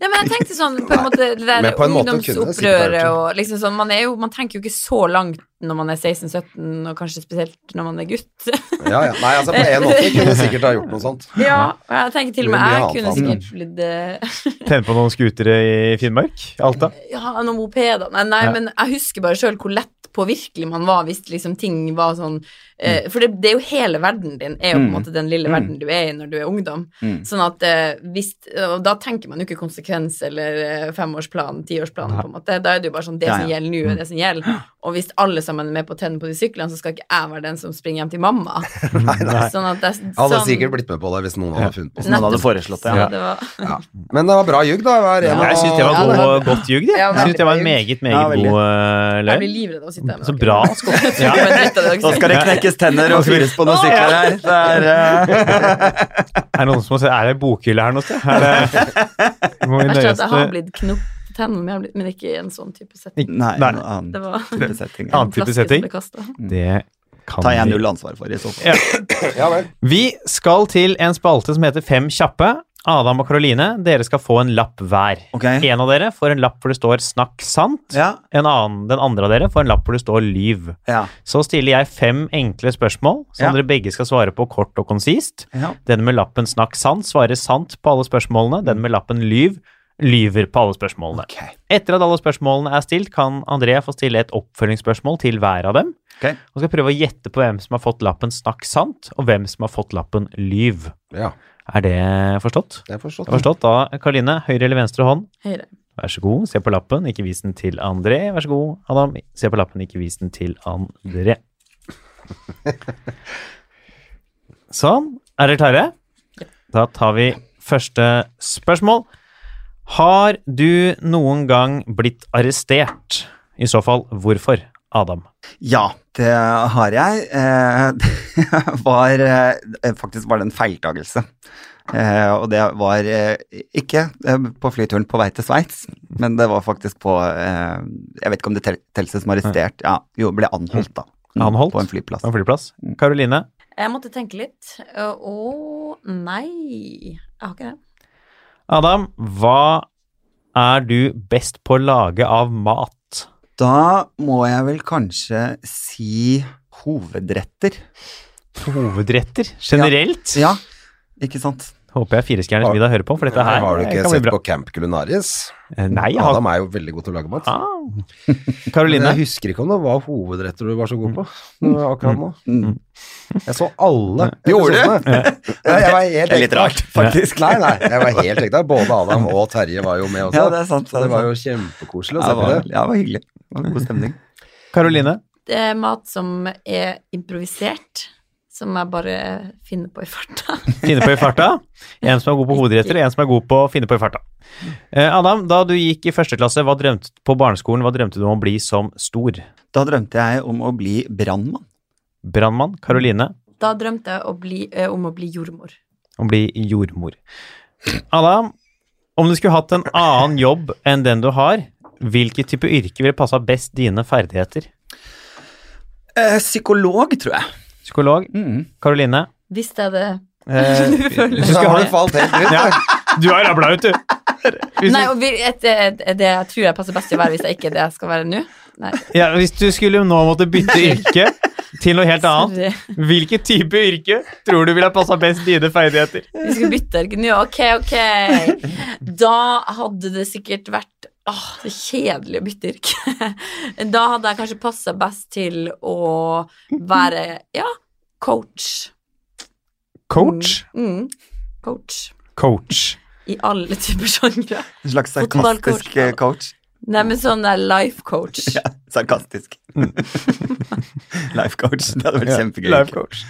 A: Nei, men jeg tenkte sånn på en måte Det
B: Men
A: der
B: på en måte kunne det sikkert vært
A: ungdomsopprøret
B: sånn.
A: og liksom sånn man, er jo, man tenker jo ikke så langt når man er 16-17, og kanskje spesielt når man er gutt. <laughs>
B: Ja, ja. Nei, altså på en måte kunne jeg sikkert ha gjort noe
D: <laughs>
B: sånt.
D: Sånn.
A: Ja, og jeg tenker til og med
B: Det
A: jeg
B: blir
A: kunne
B: mye
A: sikkert blitt eh,
C: Tenne på noen skutere i Finnmark? Alta?
A: Ja, noen mopeder Nei, nei
C: Ja.
A: men jeg husker bare sjøl hvor lett påvirkelig man var hvis liksom ting var sånn eh, Eh, For det, det er jo hele verden din, er jo på en
D: Mm.
A: måte den lille
D: Mm.
A: verden du er i når du er ungdom.
D: Mm.
A: Sånn at eh, hvis Og da tenker man jo ikke konsekvens eller eh, femårsplan, tiårsplan, på en måte. Da er det jo bare sånn Det
D: Ja,
A: som
D: ja. Mm.
A: gjelder nå, er det som gjelder. Og hvis alle sammen er med på tennene på de syklene, så skal ikke jeg være den som springer hjem til
D: <laughs>
A: mamma. Sånn at det er sånn
B: Alle hadde sikkert blitt med på det hvis noen hadde funnet på
D: Hvis <laughs> noen hadde
A: Nettopp.
D: foreslått det.
A: Så
D: Ja.
A: det var
B: Ja. Men det var bra ljug, da. Hver en
C: Nei, Jeg syns det
A: Ja,
C: var
A: det
C: god, eh, godt ljug, det.
A: Ja,
C: Jeg syns det var en meget,
D: Ja,
C: meget
D: veldig.
C: god eh,
A: Jeg blir
C: løgn.
A: livredd av å sitte her med
C: Så
A: dere.
C: bra, Skål.
A: <laughs>
C: Ja.
A: Jeg ble dritt av dere
D: Nå
A: også.
D: skal det knekkes tenner og fyres på noen sykler her. Det er, eh,
C: Er det noen som må se Er det bokhylle her noe sted? Er det <laughs> må vi
A: Verst er
C: nøye
A: at
C: oss
A: jeg har
C: med
A: blitt knopt tennene, men jeg har blitt- men ikke i en sånn type setting.
D: <laughs> nei,
C: Nei.
D: noe
A: Det
D: annet
A: var
D: type setting.
C: Annen
A: en
C: type
A: flaske som
C: setting?
A: ble kastet.
C: Det kan
D: Tar jeg
C: vi.
D: null ansvar for i så fall.
C: Ja.
B: Ja vel.
C: Vi skal til en spalte som heter Fem kjappe. Adam og Karoline, dere skal få en lapp hver.
D: Ok.
C: En av dere får en lapp hvor det står 'snakk sant'.
D: Ja.
C: En annen, den andre av dere får en lapp hvor det står 'lyv'.
D: Ja.
C: Så stiller jeg fem enkle spørsmål som
D: Ja.
C: dere begge skal svare på kort og konsist.
D: Ja.
C: Den med lappen 'snakk sant' svarer sant på alle spørsmålene. Den med lappen 'lyv' lyver på alle spørsmålene.
D: Ok.
C: Etter at alle spørsmålene er stilt, kan André få stille et oppfølgingsspørsmål til hver av dem.
D: Ok.
C: Og skal prøve å gjette på hvem som har fått lappen 'snakk sant', og hvem som har fått lappen 'lyv'.
B: Ja,
C: Er det forstått?
B: det er forstått.
C: Det er forstått da, Karoline. Høyre eller venstre hånd?
A: Høyre.
C: Vær så god, se på lappen, ikke vis den til André. Vær så god, Adam. Se på lappen, ikke vis den til André. <laughs> Sånn. Er dere klare? Da tar vi første spørsmål. Har du noen gang blitt arrestert? I så fall, hvorfor? Adam.
D: Ja, det har jeg. Eh, <laughs> Det var eh, faktisk var det en feiltagelse. Eh, Og det var eh, ikke eh, på flyturen på vei til Sveits, men det var faktisk på eh, Jeg vet ikke om det tel- telles som arrestert. Ja, jo, ble anholdt, da. Mm,
C: Anholdt?
D: På en flyplass.
C: På en flyplass. Karoline,
A: Jeg måtte tenke litt. Å, å, nei. Jeg har ikke det.
C: Adam, hva er du best på å lage av mat?
D: Da må jeg vel kanskje si hovedretter.
C: Hovedretter? Generelt?
D: Ja, ikke sant?
C: Håper jeg firestjerners
B: Har-
C: middag hører på, for dette her
B: har du ikke
C: kan bli
B: sett
C: bra.
B: på Camp Culinaris?
C: Eh, Nei, jeg har
B: Adam er jo veldig god til å lage mat.
C: ah.
B: Men
C: Karoline,
B: jeg husker ikke om det var hovedretter du var så god på eh, akkurat nå.
D: Mm.
B: Jeg så alle
D: Gjorde du?
B: episodene. Ja, jeg var helt
D: Det er litt
B: ekte.
D: rart, faktisk.
B: Nei, nei, jeg var helt ekte. Både Adam og Terje var jo med også.
D: Ja, det er sant, det
B: Så
D: er
B: det var jo kjempekoselig å
D: Ja,
B: se på
D: det var,
B: det.
D: ja, det var hyggelig. Det var god stemning.
C: Karoline.
A: Det er mat som er improvisert, som jeg bare finner på i farta. <laughs>
C: Finne på i farta. En som er god på hovedretter, og en som er god på å finne på i farta. Eh, Adam, da du gikk i første klasse hva drømte, på barneskolen, hva drømte du om å bli som stor?
D: Da drømte jeg om å bli brannmann.
C: Brannmann. Karoline
A: Da drømte jeg å bli, eh, om å bli jordmor.
C: om å bli jordmor. Adam, om du skulle hatt en annen jobb enn den du har, hvilket type yrke ville passa best dine ferdigheter?
D: Eh, psykolog, tror jeg.
C: Psykolog. Karoline.
A: Hvis det er det
C: Eh,
A: <laughs> du føler.
B: Så
C: Skal ha-
B: har det falt helt ut.
C: ja, du er rabla ut, du. Hvis
A: Nei,
C: du-
A: og vi- et, et, et, det jeg tror jeg passer best til å være hvis jeg ikke er det jeg skal være nå. Nei,
C: Ja, hvis du skulle nå måtte bytte yrke til noe helt annet,
A: sorry.
C: hvilken type yrke tror du ville ha passa best dine ferdigheter?
A: Vi skulle bytte erken. Ja, ok, ok. Da hadde det sikkert vært Åh, det er kjedelig å bytte yrke. Da hadde jeg kanskje passa best til å være ja, coach. Mm. Mm. Coach.
C: Coach.
A: I alle typer sjangre.
D: En slags
A: Fotballcoach.
D: sarkastisk eh, coach.
A: Nei, men sånn der life coach.
D: Ja, sarkastisk. Life coach. Det hadde vært kjempegøy.
C: Life coach.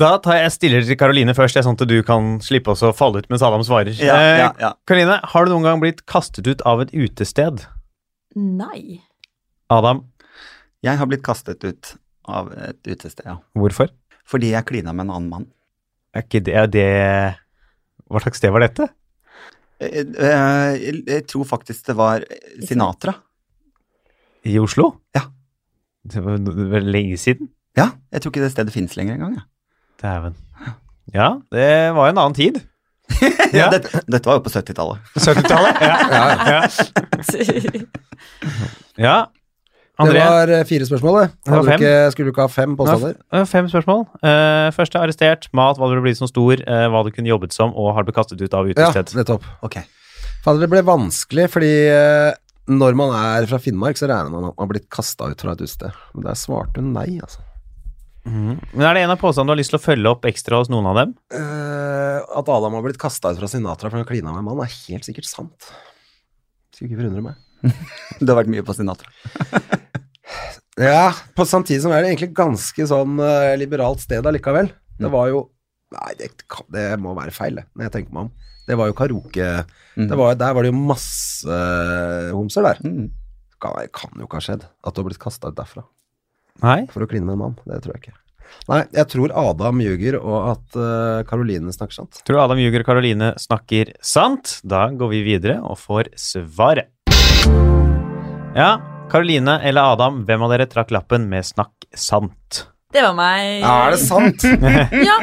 C: Da tar jeg stiller til Karoline først, det er sånn at du kan slippe oss å falle ut mens Adam svarer.
D: Ja, ja,
C: Eh,
D: ja.
C: Karoline, har du noen gang blitt kastet ut av et utested?
A: Nei.
C: Adam,
D: Jeg har blitt kastet ut av et utested, ja.
C: hvorfor?
D: Fordi jeg klina med en annen mann.
C: Er ikke det, er det Hva slags sted var dette?
D: Eh, eh, Jeg jeg tror faktisk det var Sinatra.
C: I Oslo?
D: Ja.
C: Det var det var lenge siden.
D: Ja, jeg tror ikke det stedet fins lenger engang. jeg.
C: Dæven. Ja, det var en annen tid.
D: Ja, dette, dette var jo på 70-tallet.
C: 70-tallet? Ja. ja. ja.
B: Det
C: André,
B: var eh, fire spørsmål, det.
C: var
B: Hadde du
C: fem.
B: ikke, skulle du ikke ha fem
C: det var
B: påstander?
C: f- eh, fem spørsmål. Eh, første arrestert, mat, hva du ville bli som stor, eh, hva du kunne jobbet som, og har du kastet ut av
B: Ja,
C: utested.
B: nettopp.
D: Ok.
B: Fader, det ble vanskelig, fordi eh, når man er fra Finnmark, så regner man at man har blitt kasta ut fra et utested. Men der svarte hun nei, altså.
C: Men er det en av påstandene du har lyst til å følge opp ekstra hos noen av dem?
B: Eh, at Adam har blitt kasta ut fra Sinatra fordi han klina med en mann, er helt sikkert sant. Skulle ikke forundre meg.
D: <laughs> Det har vært mye på Sinatra.
B: Ja, på samtidig som er det egentlig ganske sånn eh, liberalt sted allikevel. Det var jo Nei, det, kan- det må være feil, det, når jeg tenker meg om. Det var jo karaoke det var, Der var det jo masse eh, homser der.
D: Mm.
B: Kan, kan jo ikke ha skjedd at du har blitt kasta ut derfra
C: Nei?
B: for å kline med en mann. Det tror jeg ikke. Nei, jeg tror Adam ljuger, og at eh, Karoline snakker sant.
C: Tror du Adam Juger og Karoline snakker sant? Da går vi videre og får svaret. Ja, Karoline eller Adam, hvem av dere trakk lappen med 'snakk sant'?
A: Det var meg.
B: Ja, er det sant?
A: Ja,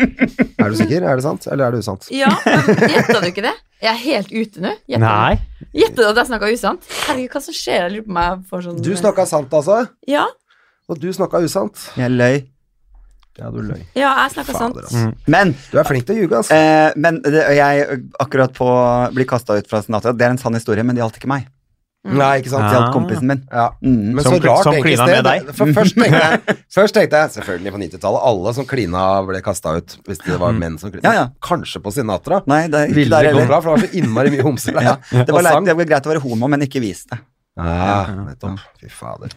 B: er du sikker? Er det sant, eller er det usant?
A: ja. men Gjetta du ikke det? Jeg er helt ute nå. Gjetta du-
C: Nei.
A: Gjetta du at jeg snakka usant? Herregud, hva som skjer? Jeg lurer på meg får sånn
B: Du snakka sant, altså?
A: Ja,
B: Og du snakka usant?
D: Jeg løy.
B: Ja, du løy.
A: ja jeg snakka sant.
B: Fader, altså.
D: Men,
B: Du er flink til å ljuge, altså.
D: eh, men det, og jeg akkurat på å bli kasta ut fra Sinatra, det er en sann historie, men det gjaldt ikke meg.
B: Nei, ikke
D: Det
B: sant?
D: gjaldt
C: Ah.
D: kompisen min.
B: Ja.
D: Mm.
B: Men
C: Som
B: så
C: kli-
B: rart,
C: som
B: egentlig,
C: klina
B: sted.
C: med deg.
B: For først tenkte jeg, først tenkte jeg selvfølgelig på 90-tallet, alle som klina ble kasta ut hvis det var menn som klina.
D: Ja, ja.
B: Kanskje på Sinatra.
D: Nei, det er
B: Ville
D: ikke der
B: det gå
D: heller.
B: bra, for det var så innmari mye homser der.
D: Ja, det, var
B: Og
D: leit,
B: sang.
D: det var greit å være homo, men ikke
B: <laughs>
D: vis det.
B: Ja, nettopp. Fy fader.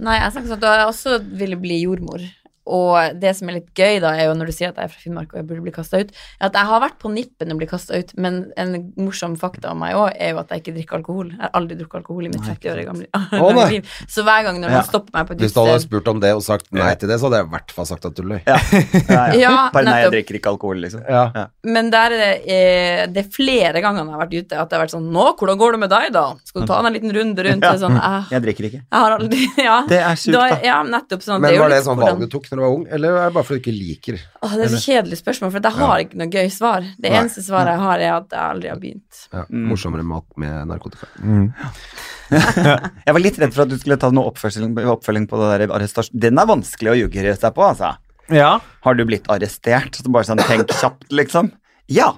A: Nei, jeg snakker sant. Og jeg også ville bli jordmor. Og det som er litt gøy, da, er jo når du sier at jeg er fra Finnmark og jeg burde bli kasta ut, er at jeg har vært på nippen å bli kasta ut, men en morsom fakta om meg òg er jo at jeg ikke drikker alkohol. Jeg har aldri drukket alkohol i mitt 30 år gamle <laughs> lange
B: nei.
A: liv. Så hver gang når
D: Ja.
A: noen stopper meg på et
B: Hvis du hadde
A: utested
B: spurt om det og sagt nei til det, så hadde jeg i hvert fall sagt at du løy.
D: Ja, ja, ja.
A: Ja,
D: Bare nei, jeg
A: nettopp.
D: drikker ikke alkohol, liksom.
B: Ja.
A: Men der er det, eh, det er flere ganger jeg har vært ute at det har vært sånn Nå, hvordan går det med deg, da? Skal du ta en liten runde rundt? Det er sånn, eh,
D: Jeg drikker ikke.
A: jeg har aldri <laughs> Ja.
D: Det er sjukt,
A: Da-
D: da.
A: Ja, nettopp sånn.
B: Men
A: er jo
B: var det
A: litt
B: sånn
A: hvordan-
B: valg du tok når du var ung, eller er det bare fordi du ikke liker?
A: Åh, det er så kjedelig spørsmål, for jeg har ikke noe gøy svar. Det
B: Nei.
A: eneste svaret jeg har, er at jeg aldri har begynt.
B: Ja, Morsommere mat med narkotika.
D: Jeg var litt redd for at du skulle ta noe oppfølging, oppfølging på det der arrestasjon. Den er vanskelig å ljuge seg på, altså.
C: Ja.
D: Har du blitt arrestert? Så bare sånn, tenk kjapt, liksom. Ja!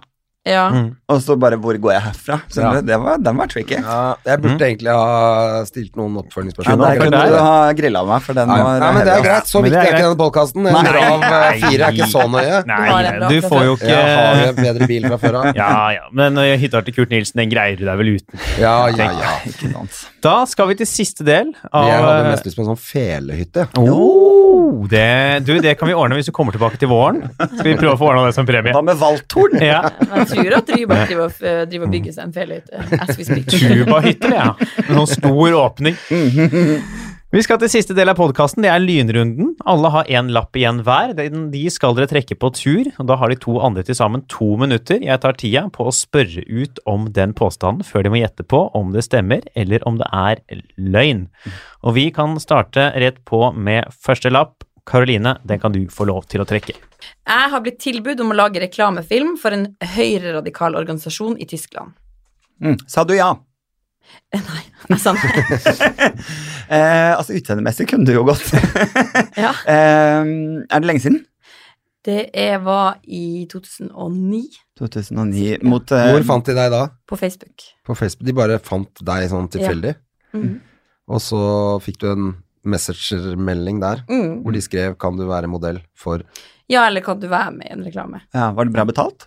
A: Ja.
B: Mm.
D: Og så bare, hvor går jeg herfra? Skjønner
B: Ja.
D: du? Det var, den var tricky. Ja,
B: Ja, jeg burde egentlig ha stilt noen oppfølgingsspørsmål.
D: der
C: for
D: kunne
C: deg.
D: du ha grilla meg, for den
B: Nei,
D: var altså.
B: nei, men det er
D: heavy,
B: greit.
D: ass.
B: Så
C: Men
B: viktig
C: det er
B: er ikke denne podkasten. En
D: Nei.
B: grav eh, fire er ikke så nøye.
A: Du har en bra
C: Nei, du får jo
B: Jeg har
C: ikke
B: en bedre bil fra før av. Ja,
C: Ja, ja. Men eh, hytta til Kurt Nilsen, den greier du deg vel uten.
B: ja, ja.
D: Ikke sant.
C: Da skal vi til siste del av eh,
B: Jeg hadde mest lyst på en sånn felehytte.
C: Oh, det, du, det kan vi ordne hvis du kommer tilbake til våren. Skal vi prøve å få ordna det som premie?
D: Hva med Valthorn?
C: Ja.
A: Men jeg tror at Rybak driver, og- eh,
B: Mm.
A: driver og bygger seg en felehytte. As we speak.
C: Cuba-hytter, ja. En sånn stor åpning. Vi skal til siste del av podkasten. Det er lynrunden. Alle har én lapp igjen hver. Den- De skal dere trekke på tur. og Da har de to andre til sammen to minutter. Jeg tar tida på å spørre ut om den påstanden før de må gjette på om det stemmer eller om det er løgn. Og vi kan starte rett på med første lapp. Karoline, den kan du få lov til å trekke.
A: Jeg har blitt tilbud om å lage reklamefilm for en høyreradikal organisasjon i Tyskland.
D: Mm. Sa du ja?
B: <laughs>
A: Er sant?
D: Eh, altså, utseendemessig kunne du jo <laughs> godt.
A: Ja.
D: Eh, er det lenge siden?
A: Det er, var i 2009
D: 2009 mot eh,
B: Hvor fant de deg da?
A: på Facebook.
B: På Facebook? De bare fant deg sånn tilfeldig,
A: Mhm.
B: og så fikk du en messengermelding der.
A: Mm.
B: Hvor de skrev 'Kan du være modell for
A: Ja, eller kan du være med i en reklame?
D: ja, Var det bra betalt?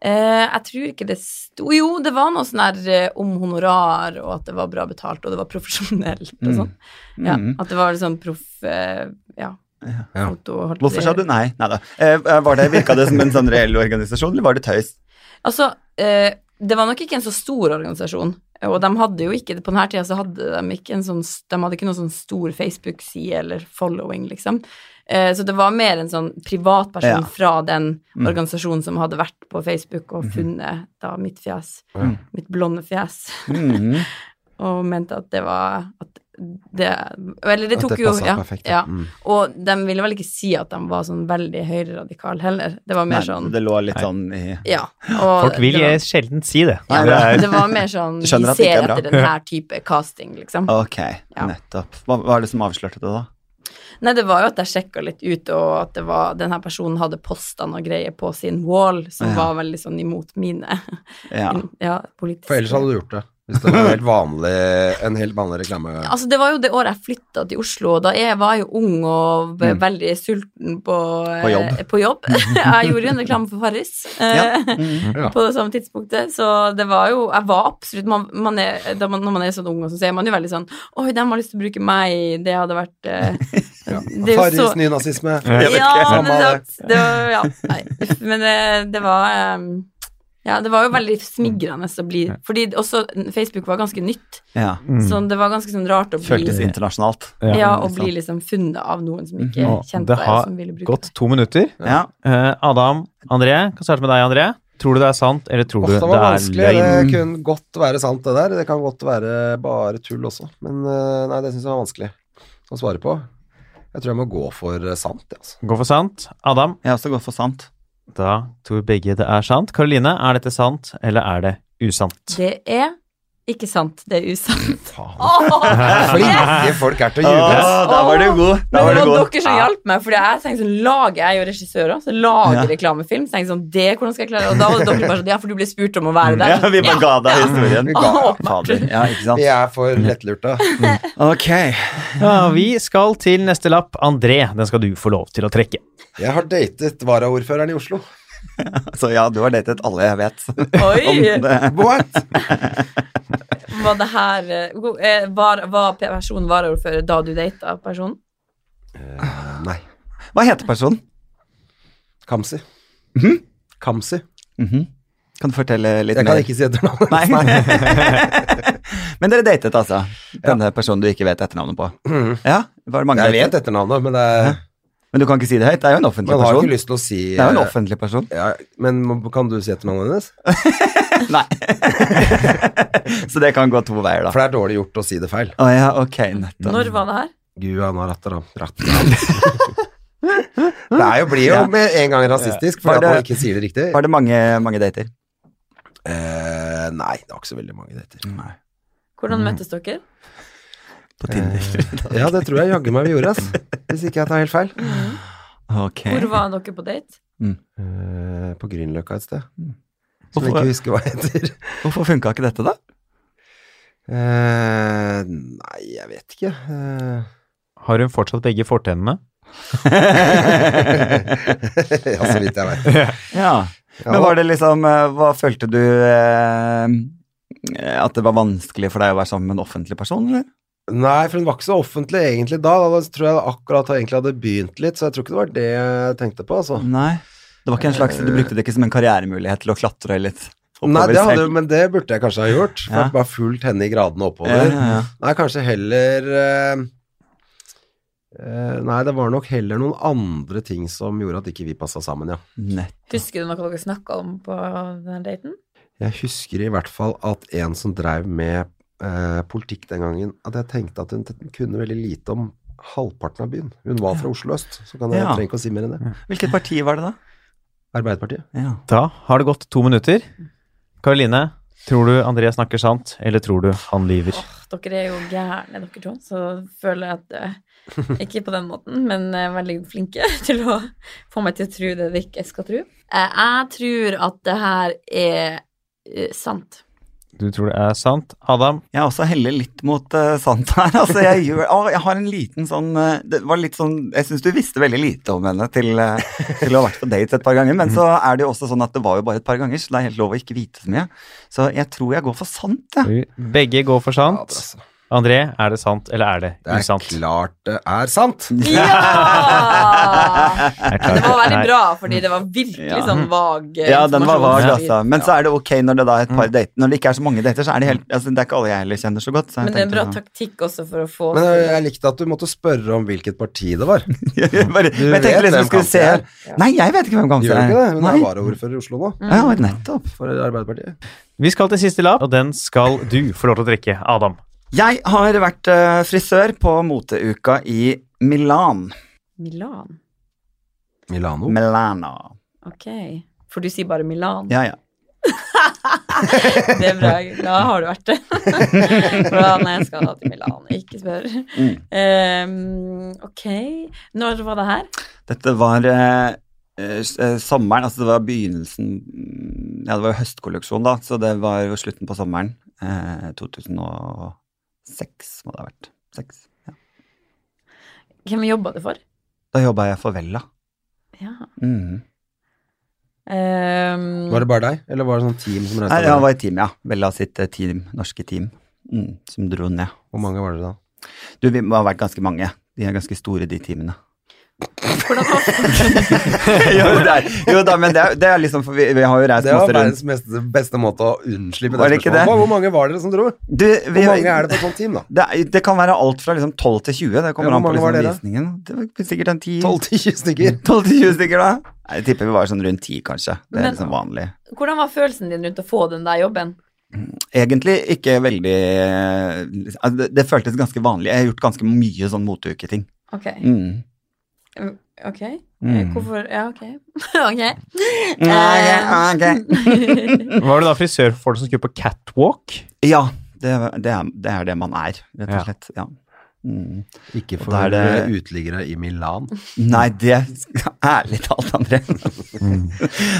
A: Eh, jeg tror ikke det sto Jo, det var noe sånn her eh, om honorar, og at det var bra betalt, og det var profesjonelt og sånn. Ja,
D: Mm.
A: At det var litt sånn proff eh, Ja.
B: Ja.
A: foto og holdt
D: Hvorfor
A: det-
D: sa du nei? Nei da. Eh, var det, virka det som en sånn reell organisasjon, eller var det tøys?
A: Altså, eh, det var nok ikke en så stor organisasjon. Og de hadde jo ikke På denne tida så hadde de ikke en sånn De hadde ikke noen sånn stor Facebook-side eller following, liksom. Eh, så det var mer en sånn
D: Ja.
A: privatperson
D: Mm.
A: fra den organisasjonen som hadde vært på Facebook
D: Mhm.
A: og funnet da mitt fjes, mitt blonde fjes,
D: Mhm.
A: og mente at det var At det Eller det
B: At
A: tok
B: det
A: jo
B: passet
A: ja,
B: perfekt, ja.
A: ja.
B: Mm.
A: Og de ville vel ikke si at de var sånn veldig høyreradikale heller. Det var mer
D: Nei,
A: sånn
D: det lå litt sånn i
A: Ja. Og
C: Folk vil
A: det var-
C: sjelden si det.
D: Nei,
A: det,
D: det er-
A: var mer sånn Vi
D: Skjønner at det ikke
A: ser
D: er bra.
A: etter den her type casting, liksom.
D: Ok,
A: Ja.
D: nettopp. Hva hva er det som avslørte det, da?
A: Nei, det var jo at jeg sjekka litt ut, og at det var, den her personen hadde postene og greier på sin wall, som
D: Ja.
A: var veldig sånn imot mine
D: Ja.
A: <laughs> ja, politiske
B: For ellers hadde du gjort det. Hvis det var en helt vanlig, en helt vanlig reklame.
A: Altså, det var jo det året jeg flytta til Oslo, og da jeg var jo ung og ve- veldig sulten på,
D: Mm. På jobb.
A: eh,
D: <laughs>
A: på jobb. jeg gjorde jo en reklame for Farris <laughs> eh,
D: Mm.
B: Ja.
A: på det samme tidspunktet, så det var jo Jeg var absolutt man, man er, da man, Når man er sånn ung, og så er man jo veldig sånn Oi, de har lyst til å bruke meg, det hadde vært
D: <laughs>
A: eh,
B: Ja.
A: det er jo
B: Farris
A: så-
B: nynazisme.
D: Jeg vet ikke.
A: Ja,
B: Samme
A: men
B: av
A: det, det var, ja, nei. uff, Men det, det var eh, ja, det var jo veldig
D: Mm.
A: smigrende å bli Fordi også Facebook var ganske nytt,
D: Ja.
A: så det var ganske sånn rart å bli
D: Mm. Føltes internasjonalt.
C: Ja,
A: ja, og
D: liksom.
A: bli liksom funnet av noen som ikke
C: Mhm. Og
A: kjente
C: det
A: deg,
C: har
A: og som ville bruke
C: Godt
A: deg.
C: to minutter.
D: Ja.
C: Eh, Adam, André, kan starte med deg, André. Tror du det er sant, eller tror
B: Åh,
C: du
B: det var
C: det
B: vanskelig.
C: er løgn?
B: Det kunne godt være sant, det der. Det kan godt være bare tull også. Men eh, nei, det syns jeg var vanskelig å svare på. Jeg tror jeg må gå for eh, sant, jeg, altså.
C: Gå for sant. Adam,
D: Jeg har også gått for sant.
C: da tror begge det er sant. Karoline, er dette sant, eller er det usant?
A: Det er ikke sant, det er usant.
B: Faen.
A: Åh!
B: Flinke folk er til å
D: Åh,
B: ljuge. ass.
D: da var du god. Da
A: Men
D: var
A: det
D: du
A: var
D: god.
A: dere som hjalp meg, Fordi jeg tenkte sånn lager, jeg er jo regissør også, så lager
D: Ja.
A: reklamefilm. Så tenkte jeg sånn, det hvordan skal jeg klare det? Og da var dere bare sånn, ja, for du ble spurt om å
C: Mm.
A: være der.
D: Ja, vi bare ga deg historien.
B: Vi ga-
D: Fader. Ja, ikke sant.
B: Vi er for lettlurte.
D: Ok.
C: Ja, vi skal til neste lapp. André, den skal du få lov til å trekke.
B: Jeg har datet varaordføreren i Oslo.
D: Så ja, du har datet alle jeg vet.
C: <laughs>
D: Om
A: Sånn, Oi!
D: det.
B: What?
A: Var det her eh, go- eh, Var, var personen varaordfører da du data personen?
B: Nei.
D: Hva heter personen?
B: Kamzy. Kamzy.
D: Mhm. Hm? Kan du fortelle litt
B: Jeg kan
D: mer?
B: ikke si etternavnet.
D: Nei. <laughs> Men dere datet, altså? Denne personen du ikke vet etternavnet på? Ja, var det mange
B: Mhm. Jeg
D: dater?
B: vet etternavnet, men det er,
D: Men du kan ikke si det høyt? Det er jo en offentlig
B: man har jo
D: person.
B: ikke lyst til å si eh,
D: Det er jo en offentlig person.
B: <laughs> ja, Men må- kan du si etternavnet hennes?
D: Nei. <laughs> Så det kan gå to veier, da.
B: For det er dårlig gjort å si det feil.
D: Å ja, ok, nettopp.
A: Når var det her?
B: Guana rattara, rattara. Det er jo, blir jo
D: Ja.
B: med en gang rasistisk,
D: Var
B: fordi at
D: det-
B: man ikke sier det riktig.
D: Var det mange, mange dater?
B: Eh, nei, det var ikke så veldig mange dater.
D: Nei.
A: Hvordan
C: Mm.
A: møttes dere?
D: På Tinder.
B: Eh, Ja, det tror jeg jaggu meg vi gjorde, ass. Hvis ikke jeg tar helt
D: <laughs>
B: feil.
D: Ok.
A: Hvor var dere på date?
B: Eh, på Grünerløkka et sted. Som jeg
D: Mm. Hvorfor,
B: ikke husker hva heter.
D: hvorfor funka ikke dette, da?
B: Eh, nei, jeg vet ikke. Eh, <laughs>
C: Har hun fortsatt begge fortennene?
B: ja, så vidt jeg vet.
D: <laughs> Ja. Men var det liksom eh, Hva følte du eh, At det var vanskelig for deg å være sammen med en offentlig person, eller?
B: Nei, for hun var ikke så offentlig egentlig da. Da tror jeg akkurat jeg egentlig hadde begynt litt, så jeg tror ikke det var det jeg tenkte på, altså.
D: Nei. Det var ikke en slags Du brukte det ikke som en karrieremulighet til å klatre litt oppover
B: Nei, det hadde,
D: selv?
B: men det burde jeg kanskje ha gjort. For
D: Ja.
B: jeg Bare fulgt henne i gradene
D: Ja,
B: oppover.
D: ja, ja.
B: Nei, kanskje heller eh, eh, Nei, det var nok heller noen andre ting som gjorde at ikke vi passa sammen, ja.
D: Nett.
A: Husker du noe dere snakka om på den daten?
B: Jeg husker i hvert fall at en som dreiv med eh, politikk den gangen, at jeg tenkte at hun t- kunne veldig lite om halvparten av byen. Hun var fra Oslo øst, så kan jeg,
D: Ja.
B: jeg trenger ikke å si mer enn det.
D: Hvilket parti var det, da?
B: Arbeiderpartiet.
D: Ja.
C: Da har det gått to minutter. Karoline, tror du André snakker sant, eller tror du han lyver?
A: Åh, dere er jo gærne, dere to. Så føler jeg at eh, Ikke på den måten, men eh, veldig flinke <laughs> til å få meg til å tro det de ikke skal tro. Eh, jeg tror at det her er eh, sant.
C: Du tror det er sant. Adam,
D: Jeg også heller litt mot eh, sant her. <laughs> Altså, jeg, gjør, å, jeg har en liten sånn eh, Det var litt sånn Jeg syns du visste veldig lite om henne til, eh, til å ha vært på date et par ganger, men så er det jo også sånn at det var jo bare et par ganger, så det er helt lov å ikke vite så mye. Så jeg tror jeg går for sant, jeg.
C: begge går for
B: Ja,
C: sant.
B: det, altså.
C: André, er det sant, eller er det
B: det er
C: usant?
B: klart det er <laughs> sant!
A: Ja!
C: Jeg
A: Det
C: klarer
A: var
C: ikke.
A: veldig
C: Nei.
A: bra, fordi det var virkelig
D: Ja.
A: sånn vag eh,
D: Ja, Mm. den var vag,
A: informasjon.
D: altså. Men så er det ok når det da er et par date. Når det ikke er så mange dater, så er det helt altså, Det er ikke alle jeg heller kjenner så godt. Så jeg
A: Men det er en bra
D: tenkte sånn. eh,
A: taktikk også for å få
B: Men jeg, eh, jeg likte at du måtte spørre om hvilket parti det var.
D: sånn. <laughs> Jeg bare, men jeg tenkte
B: vet hvem
D: liksom du skulle se
B: Kamzy
D: Nei, jeg vet ikke hvem Kamzy
B: Gjør du
D: er.
B: ikke det? Hun er
D: Nei.
B: varaordfører i Oslo nå,
D: Ja, nettopp.
B: for Arbeiderpartiet.
C: Vi skal til siste lapp, og den skal du få lov til å trekke, Adam.
D: Jeg har vært eh, frisør på moteuka i Milan.
A: Milan.
D: Oh.
B: Milano.
D: Milano.
A: Ok. For du sier bare Milan.
D: Ja, ja.
A: Det er bra. Da har du
D: <laughs>
A: vært det. Bra, nei, jeg skal da til Milan. Ikke spør.
D: Mm.
A: Ehm, ok. Når var det her?
D: Dette var eh, eh, s- eh, sommeren, altså det var begynnelsen mm, Ja, det var jo høstkolleksjon, da, så det var jo slutten på sommeren. Eh, 2006 må det ha vært. Seks, ja.
A: Hvem jobba du for?
D: Da jobba jeg for Vella.
A: Ja.
D: Mhm.
A: Um,
B: Var det bare deg, eller var det sånn team som reiste
D: Nei, jeg
B: med deg?
D: var i team, ja. Vella sitt eh, team, norske team, mm, som dro ned.
B: Hvor mange var dere da?
D: Du, vi må ha vært ganske mange. De er ganske store, de teamene.
A: hvordan var <laughs>
D: <laughs> jo, det er, jo da, men det er, det er liksom for vi, vi har jo reist
B: Det var
D: masse rundt.
B: verdens beste, beste måte å unnslippe
D: Var
B: det
D: det ikke det?
B: spørsmålet. på. Hvor mange var dere som dro?
D: Du, vi,
B: Hvor mange er det på et sånt team, da?
D: Det, er- det kan være alt fra liksom 12 til 20. Det kommer
B: Ja, hvor
D: an på
B: mange var
D: liksom
B: dere?
D: visningen. Det var sikkert en 10
B: 12-10
D: <laughs>
B: stykker.
D: 12 til 20 stykker, da? Nei, Jeg tipper vi var sånn rundt 10, kanskje. Det er
A: Men-
D: liksom vanlig.
A: Hvordan var følelsen din rundt å få den der jobben?
D: Egentlig ikke veldig altså, det, det føltes ganske vanlig. Jeg har gjort ganske mye sånn moteuketing.
A: Ok.
D: Mm.
A: Ok. Eh,
D: Mm.
A: Hvorfor Ja, ok. <laughs> ok.
D: Ja, ok,
B: Mm.
C: Var du da frisør for folk som skulle på catwalk?
D: Ja, det, det, er, det er det man er, rett
C: Ja.
D: og slett. Ja. Mm.
B: Ikke
D: Og da
B: for
D: er det-
B: uteliggere i Milan.
D: Nei, det Ærlig talt, André.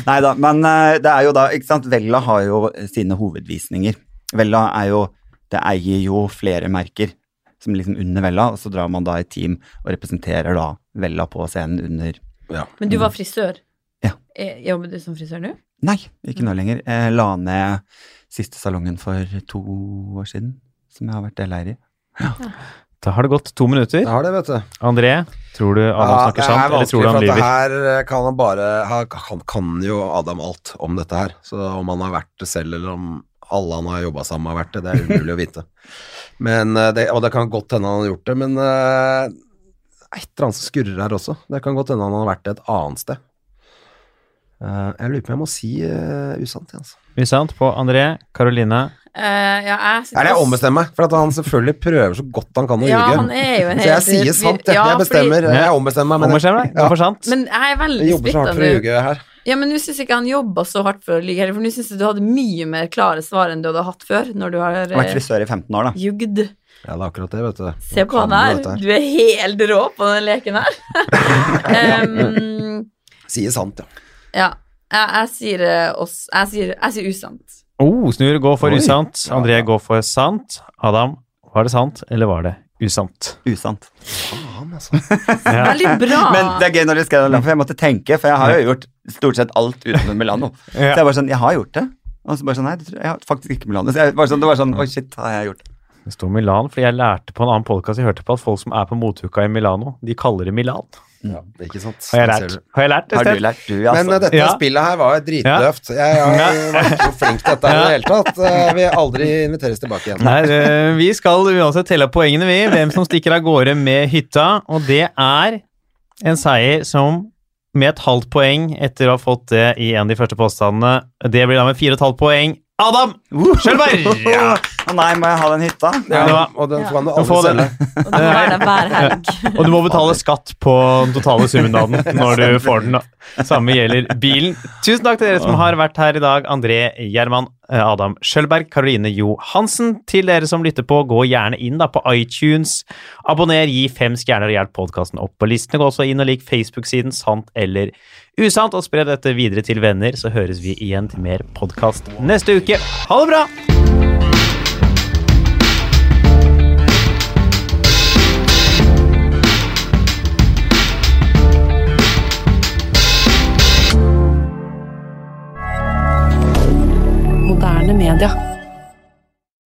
D: Nei da, men eh, det er jo da ikke sant? Vella har jo sine hovedvisninger. Vella er jo Det eier jo flere merker som liksom under Vella, og så drar man da i team og representerer da Vella på scenen under
A: Men du var frisør?
D: Ja.
A: Eh, Jobber du som frisør nå?
D: Nei, ikke nå lenger. Jeg la ned siste salongen for to år siden, som jeg har vært deleier i.
C: Da har det gått to minutter.
B: Det har det, vet du.
C: André, tror du Adam
B: Ja,
C: snakker sant, eller tror du han
B: Det er
C: lyver?
B: vanskelig, for at det her eh, kan han bare her kan, kan jo Adam alt om dette her. Så om han har vært det selv, eller om alle han har jobba sammen med har vært det, det er umulig å <laughs> vite. Men, eh, det, og det kan godt hende han har gjort det, men eh, et eller annet som skurrer her også. Det kan godt hende han har vært det et annet sted. Eh, jeg lurer på om jeg må si eh, usant. jeg, Altså.
C: Mye sant på André, Karoline
A: Eh, ja, jeg sitter
B: Eller jeg
A: også-
B: ombestemmer meg, for at han selvfølgelig prøver så godt han kan å
A: Ja,
B: ljuge.
A: han er jo en
B: Så jeg
A: helt-
B: sier sant, jeg.
A: Ja,
B: jeg bestemmer. Jeg ombestemmer meg. men-
C: Ombestem deg. Gå for sant.
A: Fordi, men jeg er veldig
B: Jeg jobber så
A: splitta
B: hardt for å
A: nå.
B: ljuge her.
A: Ja, men nå syns jeg ikke han jobba så hardt for å lyve heller, for nå syns jeg du hadde mye mer klare svar enn du hadde hatt før, når du har
D: Jeg har vært
A: eh,
D: frisør i 15 år, da.
A: jugd.
B: Ja, det er akkurat det, vet du.
A: Se på
B: Kan
A: han
B: du dette
A: her. Du er helt rå på den leken her. um,
B: Sier sant, ja.
A: ja. Jeg, jeg sier eh, oss Jeg sier, jeg sier usant.
C: Oh, snur, gå for
B: Oi.
C: usant. André går for sant. Adam, var det sant, eller var det usant?
D: Usant.
B: Faen, altså.
C: Ja.
A: Veldig bra.
D: Men det er gøy når du skrev
B: Mm.
D: det, for jeg måtte tenke, for jeg har jo gjort stort sett alt
B: <laughs>
D: utenom Milano. Så
C: Ja.
D: jeg var sånn, jeg har gjort det. Og så bare sånn, nei, det tror jeg- jeg har faktisk ikke Milano. Så jeg var sånn, det var sånn, oi shit, har jeg gjort det?
C: <laughs> Det står Milan, fordi jeg lærte på en annen podkast jeg hørte på, at folk som er på motuka i Milano, de kaller det Milan.
B: Ja, ikke sant.
C: Mm. Har jeg
B: Der
C: lært?
B: Sånn ser du.
C: Har jeg lært det
D: Har du
C: sted?
D: lært du,
B: Men eh,
D: altså?
B: dette
C: Ja.
B: spillet her var jo dritdøvt. Jeg, jeg var ikke så flink til dette her i det hele
C: <laughs>
B: tatt. Jeg vil aldri inviteres tilbake igjen.
C: Nei, eh, vi skal uansett telle opp poengene, vi. Hvem som stikker av gårde med hytta. Og det er en seier som med et halvt poeng etter å ha fått det i en av de første påstandene. Det blir da med fire og et halvt poeng. Adam
D: <laughs>
C: Schjølberg! Ja.
D: Å nei, må jeg ha den hytta?
B: Ja,
C: det var-
B: og den
A: Ja.
B: kan du
C: Du
B: aldri
C: får den.
B: selge.
A: Og du må være der hver helg.
C: Og du må betale skatt på den totale summen av den når du får den. da. Samme gjelder bilen. Tusen takk til dere som har vært her i dag. André Gjerman, eh, Adam Schjølberg, Karoline Johansen. Til dere som lytter på, gå gjerne inn da på iTunes. Abonner, gi fem stjerner og hjelp podkasten opp på listene. Gå også inn og lik Facebook-siden Sant eller usant, og spre dette videre til venner, så høres vi igjen til mer podkast neste uke. Ha det bra!
E: moderne media.